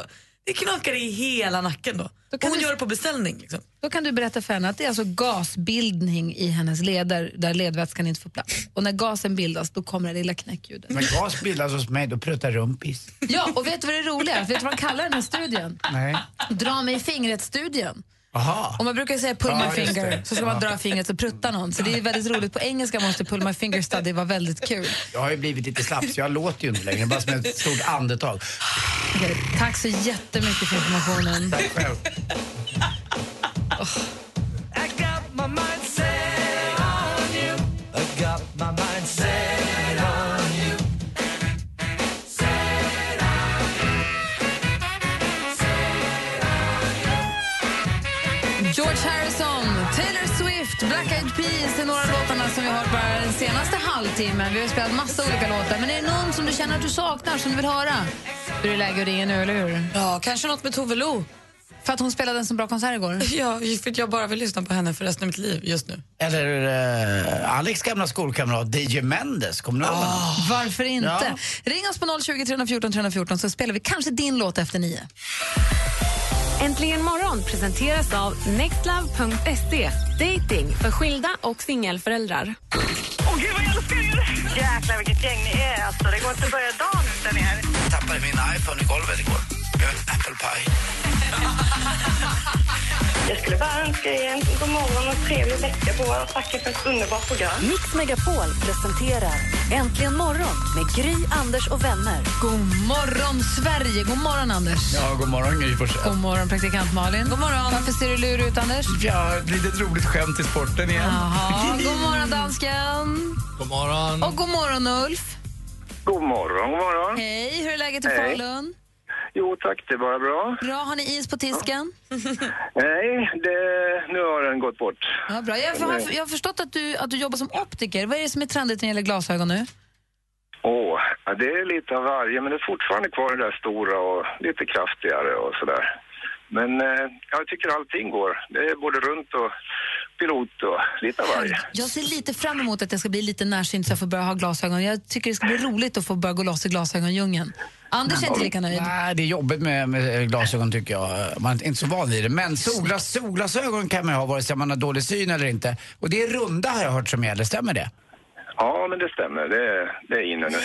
[SPEAKER 8] Det knakar i hela nacken då. Och hon gör det på beställning. Liksom.
[SPEAKER 2] Då kan du berätta för henne att det är alltså gasbildning i hennes leder där ledvätskan inte får plats. Och när gasen bildas då kommer det lilla knäckljudet.
[SPEAKER 7] Men gas bildas hos mig, då pruttar rumpis.
[SPEAKER 2] Ja, och vet du vad det roliga är? Vet du vad de kallar den här studien?
[SPEAKER 7] Nej.
[SPEAKER 2] Dra mig i fingret-studien.
[SPEAKER 7] Aha.
[SPEAKER 2] Och man brukar ju säga pull
[SPEAKER 7] Ja,
[SPEAKER 2] my
[SPEAKER 7] just
[SPEAKER 2] finger,
[SPEAKER 7] det.
[SPEAKER 2] så ska man dra fingret och prutta någon. Så det är väldigt roligt. På engelska måste pull my finger study vara väldigt kul.
[SPEAKER 7] Jag har ju blivit lite slapp så jag låter ju inte längre, bara som ett stort andetag.
[SPEAKER 2] Okej, tack så jättemycket för informationen.
[SPEAKER 7] Tack själv.
[SPEAKER 13] I got my mind set on you. I got my mind set on you. Set on you. Set on you.
[SPEAKER 2] George Harrison, Taylor Swift, Black Eyed Peas är några av låtarna som vi har hört bara den senaste halvtimmen. Vi har ju spelat massa olika låtar, men är det någon som du känner att du saknar som du vill höra? Då är det läge att ringa nu, eller hur?
[SPEAKER 8] Ja, kanske något med Tove Lo.
[SPEAKER 2] För att hon spelade en så bra konsert igår?
[SPEAKER 8] Ja, för att jag bara vill lyssna på henne för resten av mitt liv just nu.
[SPEAKER 7] Eller eh, Alex gamla skolkamrat DJ Mendes, kommer du ihåg honom?
[SPEAKER 2] Varför inte?
[SPEAKER 7] Ja.
[SPEAKER 2] Ring oss på 020 314 314 så spelar vi kanske din låt efter nio.
[SPEAKER 14] Äntligen morgon presenteras av nextlove.se. Dating för skilda och singelföräldrar.
[SPEAKER 3] Åh gud vad jag älskar er! Jäklar vilket gäng ni är alltså. Det går inte att börja dagen utan er.
[SPEAKER 7] Jag tappade min iPhone i golvet igår. Jag åt apple pie.
[SPEAKER 3] Jag skulle bara önska er en god morgon och trevlig vecka på er och tacka för ett underbart program.
[SPEAKER 1] Mix Megapol presenterar Äntligen morgon med Gry, Anders och vänner.
[SPEAKER 2] God morgon, Sverige! God morgon, Anders!
[SPEAKER 7] Ja, god morgon Gry
[SPEAKER 2] God morgon, praktikant Malin. God morgon. Varför ser du lurig ut, Anders?
[SPEAKER 20] Ja, ett litet roligt skämt i sporten igen.
[SPEAKER 2] Jaha. God morgon, dansken.
[SPEAKER 5] Mm.
[SPEAKER 20] God morgon.
[SPEAKER 2] Och god morgon, Ulf.
[SPEAKER 5] God morgon, god morgon.
[SPEAKER 2] Hej, hur är läget i
[SPEAKER 5] Hej.
[SPEAKER 2] Falun?
[SPEAKER 5] Jo tack, det är bara bra.
[SPEAKER 2] Bra, har ni is på tisken?
[SPEAKER 5] Nej, det, nu har den gått bort.
[SPEAKER 2] Ja, bra. Jag, har, jag har förstått att du, att du jobbar som optiker. Vad är det som är trendigt när det gäller glasögon nu?
[SPEAKER 5] Åh, ja, det är lite av varje, men det är fortfarande kvar det där stora och lite kraftigare och sådär. Men eh, jag tycker allting går. Det är både runt och pilot och lite av varje.
[SPEAKER 2] Jag ser lite fram emot att jag ska bli lite närsynt så jag får börja ha glasögon. Jag tycker det ska bli roligt att få börja gå loss i glasögondjungeln. Anders är inte lika nöjd.
[SPEAKER 7] Nej, det är jobbigt med, med glasögon tycker jag. Man är inte så van vid det. Men solglas, solglasögon kan man ju ha vare sig man har dålig syn eller inte. Och det är runda har jag hört som gäller, stämmer det?
[SPEAKER 5] Ja, men det stämmer. Det, är- det är inne nu.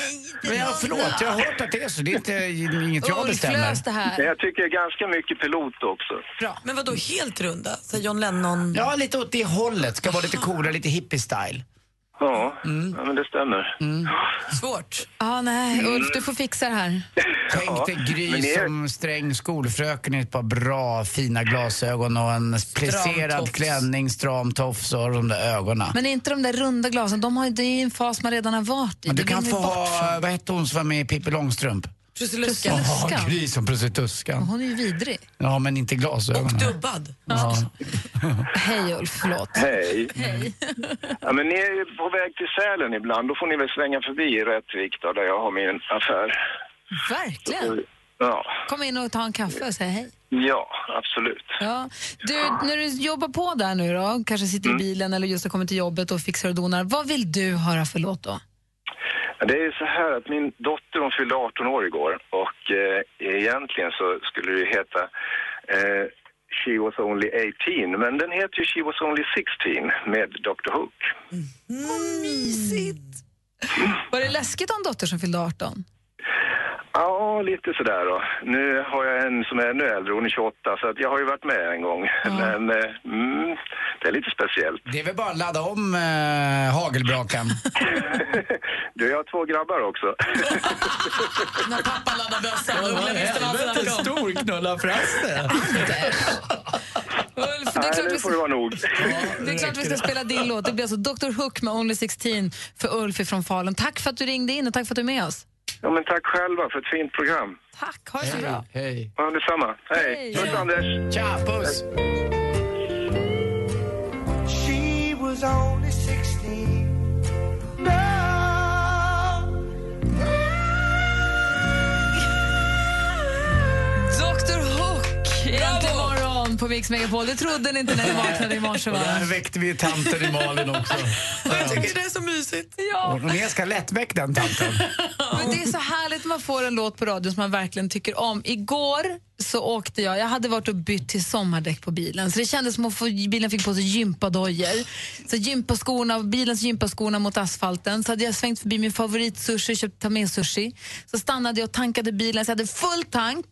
[SPEAKER 7] Men jag, förlåt, jag har hört att det är så. Det är inte, inget jag bestämmer.
[SPEAKER 5] Men jag tycker ganska mycket pilot också.
[SPEAKER 8] Bra. Men vad då helt runda? Så John Lennon... Ah.
[SPEAKER 7] Ja, lite åt det hållet. Ska vara lite coolare, lite hippie-style.
[SPEAKER 5] Ja,
[SPEAKER 7] Mm.
[SPEAKER 5] ja men det stämmer.
[SPEAKER 8] Svårt.
[SPEAKER 2] ah, nej. Ulf, du får fixa det här.
[SPEAKER 7] Tänk dig Gry som sträng skolfröken i ett par bra, fina glasögon och en plisserad
[SPEAKER 2] tofs.
[SPEAKER 7] klänning, stram tofs och de där ögonen.
[SPEAKER 2] Men är inte de där runda glasen, de har, ju- det är ju en fas man redan har varit i.
[SPEAKER 7] Men du
[SPEAKER 2] Det
[SPEAKER 7] kan
[SPEAKER 2] vill
[SPEAKER 7] få
[SPEAKER 2] vi bort från.
[SPEAKER 7] ha, vad hette hon som var med i Pippi Långstrump?
[SPEAKER 2] Prussiluskan.
[SPEAKER 7] Ja, Gry som Prussiluskan.
[SPEAKER 2] Hon är ju vidrig.
[SPEAKER 7] Ja, men inte glasögonen. Och
[SPEAKER 8] dubbad.
[SPEAKER 7] Ja.
[SPEAKER 2] Hej Ulf, förlåt.
[SPEAKER 5] Hej.
[SPEAKER 2] Hej.
[SPEAKER 5] Ja, men ni är ju på väg till Sälen ibland. Då får ni väl svänga förbi i Rättvik då, där jag har min affär.
[SPEAKER 2] Verkligen.
[SPEAKER 5] Ja,
[SPEAKER 2] Kom in och ta en kaffe och säg hej.
[SPEAKER 5] ja absolut.
[SPEAKER 2] Ja. Du, när du jobbar på där nu då,
[SPEAKER 7] Mm.
[SPEAKER 2] kanske sitter i bilen eller just har kommit till jobbet och fixar och donar. Vad vill du höra för låt då?
[SPEAKER 4] Ja, Det är ju så här att min dotter hon fyllde 18 år igår och eh, egentligen så skulle det ju heta eh, She was only 18 men den heter ju She was only 16 med Dr Hook.
[SPEAKER 2] Vad mysigt! Var det läskigt om dotter som fyllde 18?
[SPEAKER 4] Ja, lite sådär då. Nu har jag en som är ännu äldre, hon är 28 så att jag har ju varit med en gång. Men eh, mm, det är lite speciellt.
[SPEAKER 7] Det är väl bara att ladda om eh, hagelbrakan.
[SPEAKER 4] Du, jag har två grabbar också.
[SPEAKER 8] När pappa laddar bössan, Uggla visste vad han
[SPEAKER 20] Helvete,
[SPEAKER 8] snackade om.
[SPEAKER 20] stor knulla-frasse.
[SPEAKER 2] Ulf, det är
[SPEAKER 4] Nej,
[SPEAKER 2] klart
[SPEAKER 4] nu
[SPEAKER 2] vi
[SPEAKER 4] får det
[SPEAKER 2] ska...
[SPEAKER 4] vara nog.
[SPEAKER 2] Det är klart vi ska spela din låt. Det blir alltså Dr Hook med Only 16 för Ulf från Falun. Tack för att du ringde in och tack för att du är med oss.
[SPEAKER 4] Ja, men tack själva för ett fint program.
[SPEAKER 2] Tack, ha det så bra.
[SPEAKER 4] Hej. Ja, detsamma. Hej. Puss, Anders.
[SPEAKER 7] Tja, puss.
[SPEAKER 13] She was only 16. No.
[SPEAKER 2] Dr Hook! Äntligen morgon på Mix Megapol. Det trodde ni inte när ni vaknade i morse,
[SPEAKER 7] Och
[SPEAKER 2] va?
[SPEAKER 7] där väckte vi tanten i Malin också.
[SPEAKER 8] Jag tycker det är så mysigt.
[SPEAKER 2] Ja.
[SPEAKER 7] Hon är ganska lättväckt den tanten.
[SPEAKER 2] Men det är så härligt när man får en låt på radion som man verkligen tycker om. Igår så åkte jag, jag hade varit och bytt till sommardäck på bilen så det kändes som att få, bilen fick på sig gympadojor. Så gympaskorna, bilens gympaskorna mot asfalten. Så hade jag svängt förbi min favoritsushi, köpt ta med sushi. Så stannade jag och tankade bilen så jag hade full tank.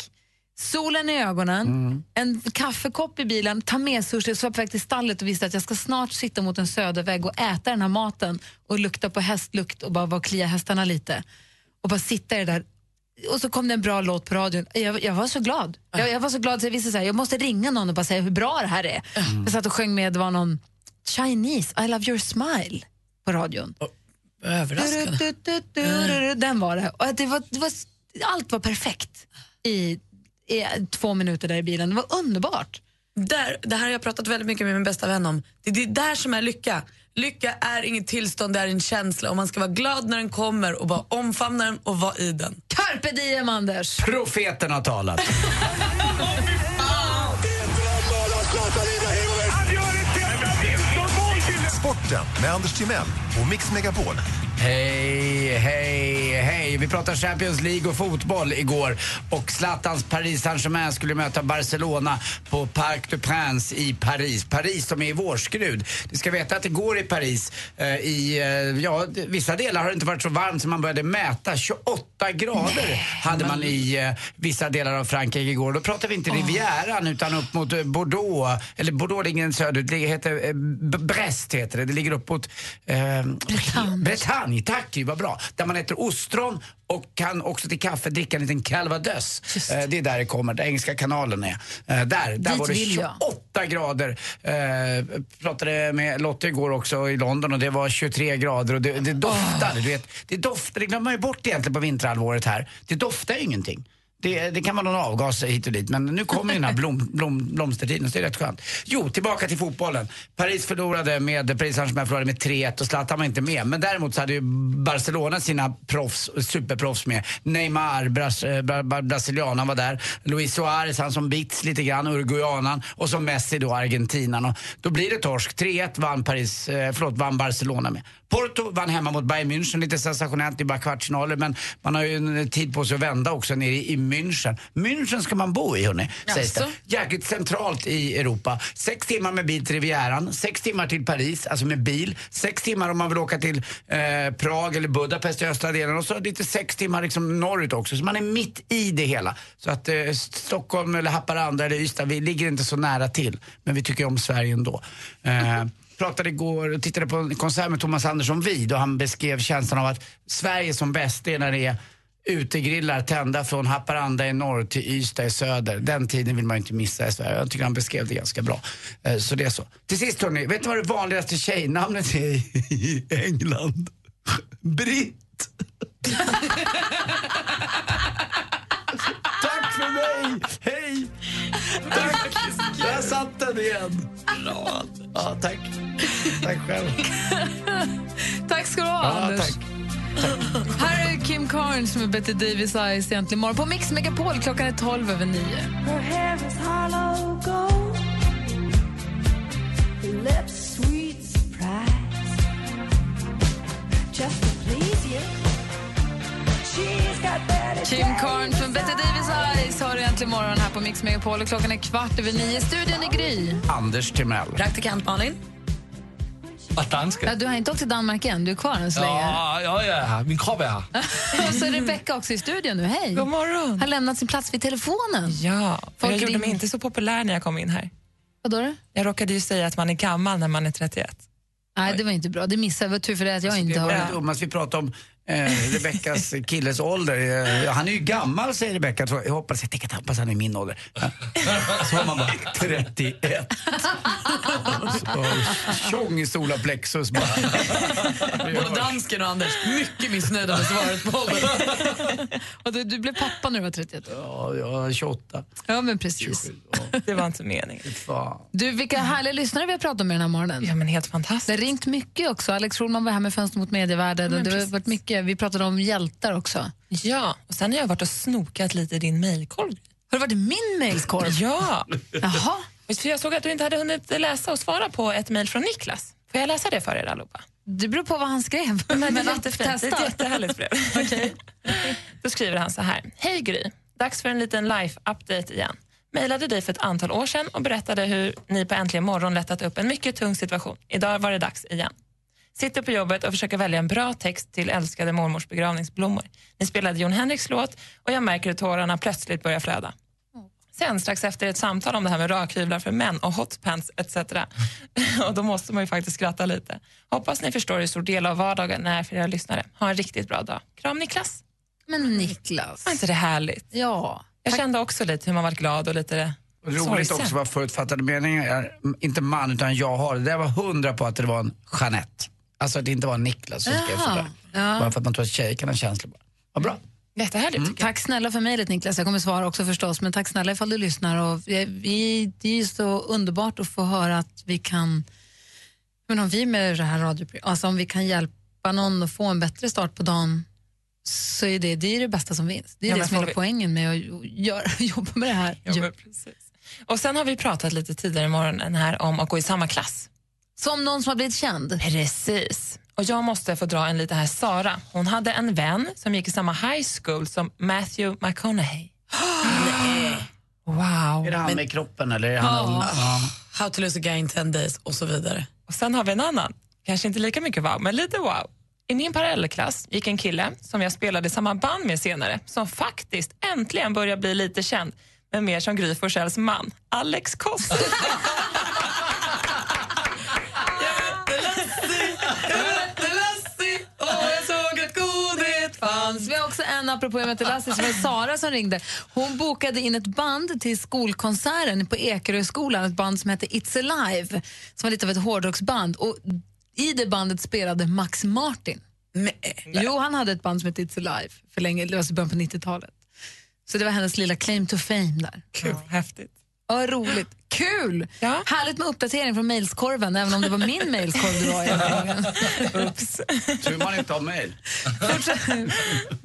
[SPEAKER 2] Solen i ögonen, en kaffekopp i bilen, ta med sushi. Så var jag på väg till stallet och visste att jag ska snart sitta mot en södervägg och äta den här maten och lukta på hästlukt och bara vara och klia hästarna lite. Och bara sitta i det där. Och så kom det en bra låt på radion. Jag, jag var så glad. Jag, jag var så glad så jag visste så här, jag måste ringa någon och bara säga hur bra det här är. Jag satt och sjöng med, det var någon Chinese, I love your smile på radion.
[SPEAKER 8] Överraskande.
[SPEAKER 2] Du, du, du, du, du, du, Den var det. Och att det var, det var, allt var perfekt i, i två minuter där i bilen. Det var underbart.
[SPEAKER 8] Där, det här har jag pratat väldigt mycket med min bästa vän om. Det, det är där som är lycka. Lycka är inget tillstånd, det är en känsla. Och man ska vara glad när den kommer och bara omfamna den och vara i den.
[SPEAKER 2] Carpe diem, Anders!
[SPEAKER 7] Profeten har talat.
[SPEAKER 21] Sporten med Anders Timell och Mix Megapol.
[SPEAKER 7] Hej, hej, hej. Vi pratar Champions League och fotboll igår. Och Zlatans Paris Saint-Germain skulle möta Barcelona på Parc des Princes i Paris. Paris som är i vårskrud. Du ska veta att det går i Paris. eh, I eh, ja, d- vissa delar har det inte varit så varmt som man började mäta. 28 grader hade man i eh, vissa delar av Frankrike igår. Då pratar vi inte Rivieran utan upp mot eh, Bordeaux. Eller Bordeaux ligger söderut. Det heter, eh, B- Brest heter det. Det ligger upp mot... ehm, Bretagne, tack, vad bra. Där man äter ostron och kan också till kaffe dricka en liten calvados. Eh, Det är där det kommer, där Engelska kanalen är. Eh, Där, där
[SPEAKER 20] Dit
[SPEAKER 7] var det
[SPEAKER 20] vill jag.
[SPEAKER 7] 28 grader. Eh, pratade med Lotta igår också i London och det var 23 grader och det, det
[SPEAKER 20] Ah.
[SPEAKER 7] doftade. Du vet, det doftar, det glömmer man ju bort egentligen på vinterhalvåret här. Det doftar ju ingenting. Det, det kan vara någon avgas hit och dit, men nu kommer ju den här blom, blom, blomstertiden så det är rätt skönt. Jo, tillbaka till fotbollen. Paris förlorade med, Paris Saint-Germain förlorade med 3-1 och Zlatan var inte med. Men däremot så hade ju Barcelona sina proffs, superproffs med. Neymar, bras, eh, bra, bra, brasilianan var där. Luis Suarez, han som bits lite grann, uruguayanan. Och så Messi då, argentinan. Och då blir det torsk. 3-1 vann, Paris, eh, förlåt, vann Barcelona med. Porto vann hemma mot Bayern München, lite sensationellt, det är bara kvartsfinaler. Men man har ju en tid på sig att vända också nere i i München. München ska man bo i, hörni, sägs det.
[SPEAKER 20] Jaså?
[SPEAKER 7] Jäkligt centralt i Europa. Sex timmar med bil till Rivieran, sex timmar till Paris, alltså med bil. Sex timmar om man vill åka till eh, Prag eller Budapest i östra delen och så lite sex timmar liksom norrut också. Så man är mitt i det hela. Så att eh, Stockholm eller Haparanda eller Ystad, vi ligger inte så nära till. Men vi tycker om Sverige ändå. Eh, pratade igår och tittade på en konsert med Thomas Andersson Vid och han beskrev känslan av att Sverige som bäst är när det är utegrillar tända från Haparanda i norr till Ystad i söder. Den tiden vill man ju inte missa i Sverige. Jag tycker han beskrev det ganska bra. Eh, Så det är så. Till sist hörni, vet ni vad det vanligaste tjejnamnet är i- i England? Britt! Tack för mig! Hej! Tack! Där satt den igen. Ja, tack. Tack själv.
[SPEAKER 2] Tack ska du ha,
[SPEAKER 7] Ja,
[SPEAKER 2] Anders. Här är Kim Carnes med Betty Davis Eyes egentligen morgon på Mix Megapol. Klockan är 12 över 9.
[SPEAKER 13] Her hair is hollow gold. Her lips sweet surprise. Just to please you.
[SPEAKER 2] Kim Carn från Betty Davis Eyes har du äntligen morgon här på Mix Megapol. Och Klockan är kvart över nio. Studion är Gry.
[SPEAKER 7] Anders Timell.
[SPEAKER 2] Praktikant Malin.
[SPEAKER 20] Att danska.
[SPEAKER 2] Ja, du har inte åkt till Danmark än, du är kvar än så länge.
[SPEAKER 20] Ja, ja, ja, min kropp är här.
[SPEAKER 2] Och så är Rebecca också i studion nu. Hej! God
[SPEAKER 6] morgon!
[SPEAKER 2] Har lämnat sin plats vid telefonen.
[SPEAKER 6] Ja,
[SPEAKER 2] Folk
[SPEAKER 6] jag gjorde
[SPEAKER 2] ringer.
[SPEAKER 6] mig inte så populär när jag kom in här.
[SPEAKER 2] Vad då?
[SPEAKER 6] Jag råkade ju säga att man är gammal när man är 31.
[SPEAKER 2] Nej, det var inte bra. Det missade jag. Vad tur för det att
[SPEAKER 6] Alltså,
[SPEAKER 2] jag inte
[SPEAKER 7] Det var
[SPEAKER 2] har...
[SPEAKER 7] det dummaste vi pratade om. Eh, Rebeckas killes ålder. Eh, han är ju gammal säger Rebecka. Jag hoppas, jag tänker att hoppas han är min ålder. Så har Alltså, man bara 31. Och Tjong i sola plexus bara.
[SPEAKER 8] Både dansken och Anders, mycket missnöjda med svaret på åldern.
[SPEAKER 2] Och du, du blev pappa när du var 31 år.
[SPEAKER 7] Ja, jag är 28.
[SPEAKER 2] Ja, men precis.
[SPEAKER 6] Det var inte meningen.
[SPEAKER 7] Fan.
[SPEAKER 2] Du, vilka härliga lyssnare vi har pratat med den här morgonen.
[SPEAKER 6] Mm. Ja, men helt fantastiskt.
[SPEAKER 2] Det har ringt mycket också. Alex Schulman var här med Fönster mot medievärlden. Och
[SPEAKER 6] Men
[SPEAKER 2] det har
[SPEAKER 6] precis.
[SPEAKER 2] varit mycket. Vi pratade om hjältar också. Har
[SPEAKER 6] Ja, och sen har jag varit och snokat lite i din mejlkorg.
[SPEAKER 2] det varit i min mejlskorv?
[SPEAKER 6] Ja.
[SPEAKER 2] Jaha.
[SPEAKER 6] För jag såg att du inte hade hunnit läsa och svara på ett mejl från Niklas. Får jag läsa det för er allihopa?
[SPEAKER 2] Det beror på vad han skrev.
[SPEAKER 6] Men det är
[SPEAKER 2] att
[SPEAKER 6] jättefint. Det är ett
[SPEAKER 2] testa.
[SPEAKER 6] jättehärligt brev. Då skriver han så här. Hej Gry. Dags för en liten life-update igen. Mejlade dig för ett antal år sedan och berättade hur ni på Äntligen morgon lättat upp en mycket tung situation. Idag var det dags igen. Sitter på jobbet och försöker välja en bra text till älskade mormors begravningsblommor. Ni spelade Jon Henriks låt och jag märker hur tårarna plötsligt börjar flöda. Sen strax efter ett samtal om det här med rakhyvlar för män och hotpants etc. och då måste man ju faktiskt skratta lite. Hoppas ni förstår hur stor del av vardagen är för era lyssnare. Ha en riktigt bra dag. Kram Niklas. Ah.
[SPEAKER 2] Men Niklas.
[SPEAKER 6] Var inte det härligt?
[SPEAKER 2] Ja.
[SPEAKER 6] Jag kände också lite hur man var glad och lite
[SPEAKER 7] Roligt
[SPEAKER 6] sorgsen.
[SPEAKER 7] också vad förutfattade meningar är. M- Inte man, utan jag har. Det där var hundra på att det var en Jeanette. Alltså att det inte var en Niklas som skrev
[SPEAKER 2] Jaha.
[SPEAKER 7] sådär.
[SPEAKER 2] Ja.
[SPEAKER 7] Bara för att man tror att tjejer kan ha känslor. bara. Vad bra.
[SPEAKER 6] Jättehärligt. Mm.
[SPEAKER 2] Tack snälla för mejlet Niklas. Jag kommer svara också förstås. Men tack snälla ifall du lyssnar. Och vi- vi, det är ju så underbart att få höra att vi kan, men om vi med det här radioprogrammet, alltså om vi kan hjälpa någon att få en bättre start på dagen så är det det, är det bästa som finns. Det är
[SPEAKER 6] Ja,
[SPEAKER 2] det
[SPEAKER 6] men
[SPEAKER 2] som är
[SPEAKER 6] får
[SPEAKER 2] hela
[SPEAKER 6] vi-
[SPEAKER 2] poängen med att göra, jobba med det här.
[SPEAKER 6] Ja, men precis. Och sen har vi pratat lite tidigare i morgonen här om att gå i samma klass.
[SPEAKER 2] Som någon som har blivit känd.
[SPEAKER 6] Precis. Och jag måste få dra en lite här Sara. Hon hade en vän som gick i samma high school som Matthew McConaughey. Wow.
[SPEAKER 7] Är det han med kroppen eller? Är han
[SPEAKER 6] Ja.
[SPEAKER 7] ja.
[SPEAKER 6] How to lose a guy in 10 days och så vidare. Och sen har vi en annan, kanske inte lika mycket wow, men lite wow. I min parallellklass gick en kille som jag spelade i samma band med senare som faktiskt äntligen börjar bli lite känd, men mer som Gry Forssells man, Alex Koss.
[SPEAKER 2] fanns. Vi har också en, apropå jag mötte Lassie, som var Sara som ringde. Hon bokade in ett band till skolkonserten på Ekeröskolan, ett band som hette It's Alive, som var lite av ett hårdrocksband. Och I det bandet spelade Max Martin. Jo, han hade ett band som hette It's Alive, för länge, det var i början på 90-talet. Så det var hennes lilla claim to fame där.
[SPEAKER 6] Kul, häftigt.
[SPEAKER 2] Ja, roligt. Kul! Härligt med uppdatering från mailskorven, även om det var min mailskorv du var i. den här gången.
[SPEAKER 7] Tur man inte har mejl.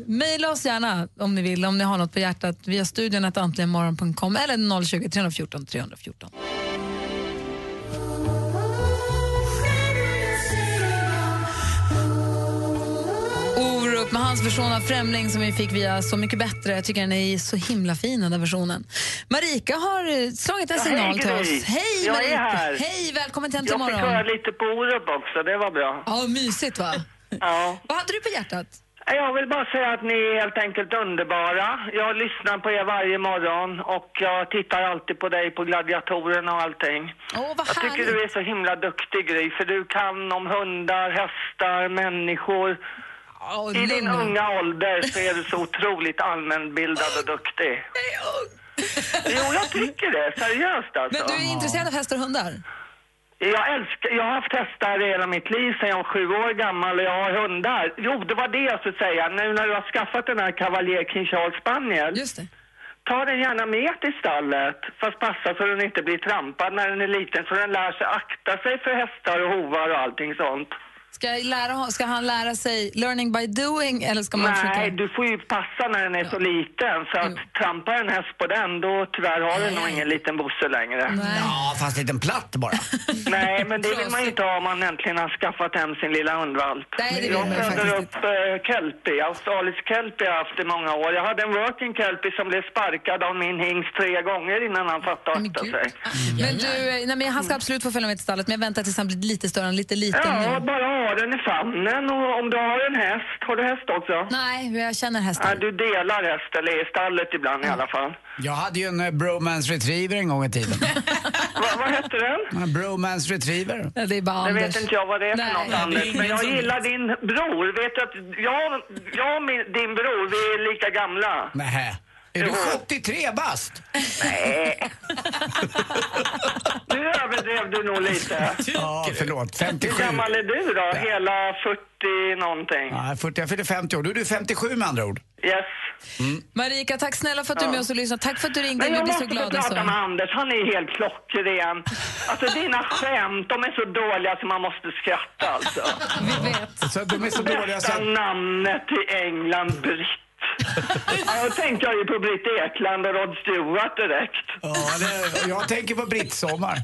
[SPEAKER 2] Maila oss gärna om ni vill, om ni har något på hjärtat via studion att antligenmorgon.com eller 020 314 314. Orup med hans version av Främling som vi fick via Så mycket bättre. Jag tycker den är så himla fin den där versionen. Marika har eh, slagit en
[SPEAKER 22] Ja, hej,
[SPEAKER 2] signal till
[SPEAKER 22] Gry.
[SPEAKER 2] oss. Hej
[SPEAKER 22] Jag är
[SPEAKER 2] Marika!
[SPEAKER 22] här.
[SPEAKER 2] Hej, välkommen till
[SPEAKER 22] Jag
[SPEAKER 2] Äntligen
[SPEAKER 22] fick höra
[SPEAKER 2] morgon.
[SPEAKER 22] lite på Orup också, det var bra.
[SPEAKER 2] Ja, mysigt va?
[SPEAKER 22] Ja.
[SPEAKER 2] Vad hade du på hjärtat?
[SPEAKER 22] Jag vill bara säga att ni är helt enkelt underbara. Jag lyssnar på er varje morgon och jag tittar alltid på dig på gladiatorerna och allting.
[SPEAKER 2] Åh, vad
[SPEAKER 22] jag tycker du är så himla duktig Gry, för du kan om hundar, hästar, människor. I din
[SPEAKER 2] lugn nu.
[SPEAKER 22] unga ålder så är du så otroligt allmänbildad och duktig. Jo, jag tycker det. Seriöst alltså.
[SPEAKER 2] Men du är intresserad av hästar och hundar?
[SPEAKER 22] Jag älskar, jag har haft hästar hela mitt liv sedan jag var sju år gammal och jag har hundar. Jo, det var det jag skulle säga. Nu när du har skaffat den här Cavalier King Charles Spaniel.
[SPEAKER 2] Just det.
[SPEAKER 22] Ta den gärna med till stallet, fast passa så den inte blir trampad när den är liten så den lär sig akta sig för hästar och hovar och allting sånt.
[SPEAKER 2] Ska, jag lära, ska han lära sig learning by doing eller ska man
[SPEAKER 22] Nej,
[SPEAKER 2] försöka...
[SPEAKER 22] du får ju passa när den är så liten. Så att trampar en häst på den, då tyvärr har du nog ingen liten bosse längre.
[SPEAKER 7] Ja, fast lite platt bara.
[SPEAKER 22] Nej, men det vill man ju inte ha om man äntligen har skaffat hem sin lilla hundvalp.
[SPEAKER 2] Nej, det vill
[SPEAKER 22] jag
[SPEAKER 2] man ju
[SPEAKER 22] föder upp eh, kelpie, australisk kelpie har jag haft i många år. Jag hade en working kelpie som blev sparkad av min hingst tre gånger innan han fattade att akta sig.
[SPEAKER 2] Ah, Men du, eh, nej, men
[SPEAKER 22] Mm.
[SPEAKER 2] han ska absolut få följa med till stallet, men jag väntar tills han blir lite större, han är lite liten
[SPEAKER 22] Ja,
[SPEAKER 2] nu.
[SPEAKER 22] bara ha den i famnen och om du har en häst, har du häst också?
[SPEAKER 2] Nej, jag känner hästen.
[SPEAKER 22] Ja, du delar häst eller i stallet ibland i alla fall.
[SPEAKER 7] Jag hade ju en eh, bromance retriever en gång i tiden.
[SPEAKER 22] vad hette den?
[SPEAKER 7] En bromance retriever.
[SPEAKER 2] Det är bara
[SPEAKER 22] Det
[SPEAKER 2] Anders.
[SPEAKER 22] vet inte jag vad det är för något, Anders. Men jag gillar din bror. Vet du att jag, jag och min, din bror, vi är lika gamla.
[SPEAKER 7] Nähä. Är du 73 bast?
[SPEAKER 22] Nej. nu överdrev du nog lite.
[SPEAKER 7] Ja, förlåt. 57.
[SPEAKER 22] Hur gammal är du då? Hela 40 någonting?
[SPEAKER 7] Ja, 40, jag fyller 50 år. Då är du 57 med andra ord. Mm.
[SPEAKER 22] Yes.
[SPEAKER 2] Marika, tack snälla för att du är med oss och lyssnar. Tack för att du ringde.
[SPEAKER 22] Men
[SPEAKER 2] Vi
[SPEAKER 22] jag
[SPEAKER 2] blir så alltså.
[SPEAKER 22] måste
[SPEAKER 2] glada.
[SPEAKER 22] få
[SPEAKER 2] och
[SPEAKER 22] prata med
[SPEAKER 2] så.
[SPEAKER 22] Anders, han är helt klockren. Alltså dina skämt, de är så dåliga så man måste skratta alltså.
[SPEAKER 2] Vi vet.
[SPEAKER 7] Så de är så dåliga så
[SPEAKER 22] Bästa namnet i England, Britt. Ja, då tänker jag ju på Britt Ekland och Rod Stewart direkt.
[SPEAKER 7] Ja, det, jag tänker på Britt-sommar.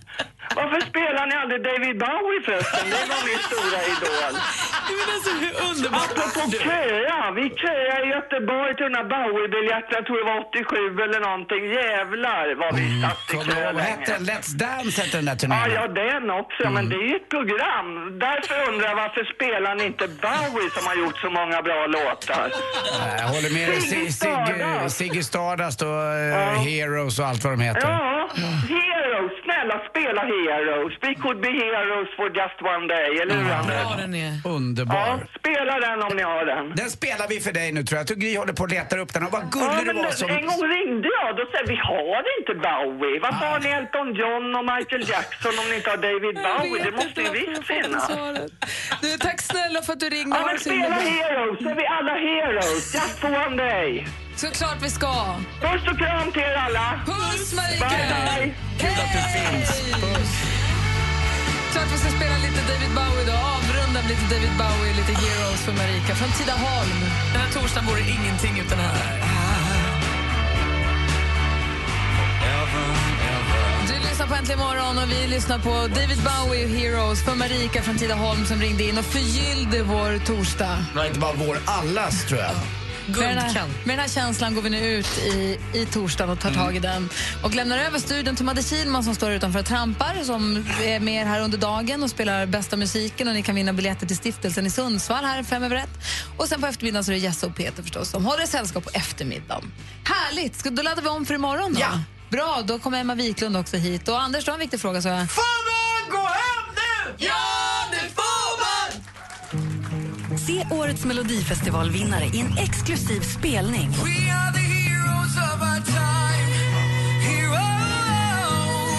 [SPEAKER 22] Varför spelar ni aldrig David Bowie förresten? Det var min stora idol.
[SPEAKER 8] Men alltså, hur underbart!
[SPEAKER 22] Apropå köa, vi köade i Göteborg till den här Bowie-biljetten, jag tror det var 87 eller någonting. Jävlar vad vi satt i kö
[SPEAKER 7] Vad hette
[SPEAKER 22] länge.
[SPEAKER 7] den? Mm, Let's Dance hette den där Mm.
[SPEAKER 22] Ja,
[SPEAKER 7] turneringen.
[SPEAKER 22] ja, den också. Men det är ju ett program. Därför undrar jag varför spelar ni inte Bowie som har gjort så många bra låtar?
[SPEAKER 7] Nej, Jag håller med dig. Sig-
[SPEAKER 22] Sigge
[SPEAKER 7] Sigge-
[SPEAKER 22] Stardust.
[SPEAKER 7] Sigge Stardust och eh, Heroes och allt vad de heter.
[SPEAKER 22] Ja, Heroes. Snälla spela Heroes. We could be heroes for just one day, eller hur Anders? Ja,
[SPEAKER 7] Mm. Underbar.
[SPEAKER 22] spela den om ni har den.
[SPEAKER 7] Den spelar vi för dig nu tror jag. Jag tror Gry håller på och letar upp den. Och vad
[SPEAKER 22] Ja,
[SPEAKER 7] gullig du
[SPEAKER 22] men
[SPEAKER 7] var
[SPEAKER 22] En
[SPEAKER 7] som...
[SPEAKER 22] gång ringde jag då sa jag, vi har inte Bowie. Varför har ni Elton John och Michael Jackson om ni inte har David
[SPEAKER 2] Mm.
[SPEAKER 22] Bowie? Det måste ju visst finnas.
[SPEAKER 2] Du, tack snälla för att du ringde.
[SPEAKER 22] Ja,
[SPEAKER 2] Ha
[SPEAKER 22] men
[SPEAKER 2] det så himla
[SPEAKER 22] spela
[SPEAKER 2] bra.
[SPEAKER 22] Heroes. Är vi alla heroes? Just for one day.
[SPEAKER 2] Såklart vi ska.
[SPEAKER 22] Puss och kram till er alla.
[SPEAKER 2] Puss Marika!
[SPEAKER 22] Bye, bye.
[SPEAKER 2] Kul att du finns. Klart vi ska spela lite David Bowie då. Avrunda med lite David Bowie, lite Heroes för Marika från Tidaholm.
[SPEAKER 8] Den här torsdagen vore ingenting utan henne.
[SPEAKER 2] Du lyssnar på Äntligen morgon och vi lyssnar på David Bowie och Heroes för Marika från Tidaholm som ringde in och förgyllde vår torsdag.
[SPEAKER 7] Nej, inte bara vår, allas tror jag.
[SPEAKER 2] Med den, här, med den här känslan går vi nu ut i, i torsdagen och tar tag i den. Och lämnar över studion till Madde Kihlman som står utanför och trampar som är med er här under dagen och spelar bästa musiken. Och Ni kan vinna biljetter till stiftelsen i Sundsvall här fem över ett. Och sen på eftermiddagen så är det Jesse och Peter förstås som håller sällskap på eftermiddagen. Härligt! Ska, då laddar vi om för imorgon då. Ja. Bra, då kommer Emma Wiklund också hit. Och Anders, du har en viktig fråga, så jag.
[SPEAKER 1] Se årets Melodifestivalvinnare i en exklusiv spelning.
[SPEAKER 13] We are the heroes of our time. Heroes.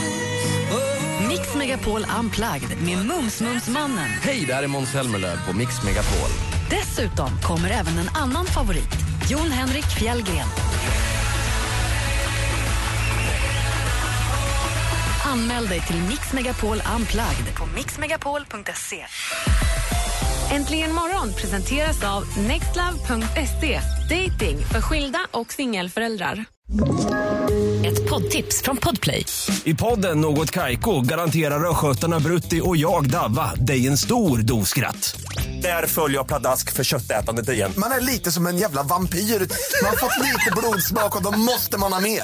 [SPEAKER 1] Mix Megapol Unplugged med Mums-Mums-mannen.
[SPEAKER 16] Hej, det här är Måns Zelmerlöw på Mix Megapol.
[SPEAKER 1] Dessutom kommer även en annan favorit, Jon Henrik Fjällgren. Anmäl dig till Mix Megapol Unplugged på mixmegapol.se.
[SPEAKER 14] Äntligen morgon presenteras av nextlove.se. Dating för skilda och singelföräldrar.
[SPEAKER 1] Ett poddtips från Podplay.
[SPEAKER 9] I podden Något Kaiko garanterar östgötarna Brutti och jag, Davva, dig en stor dos skratt. Där följer jag pladask för köttätandet igen.
[SPEAKER 11] Man är lite som en jävla vampyr. Man har fått lite blodsmak och då måste man ha mer.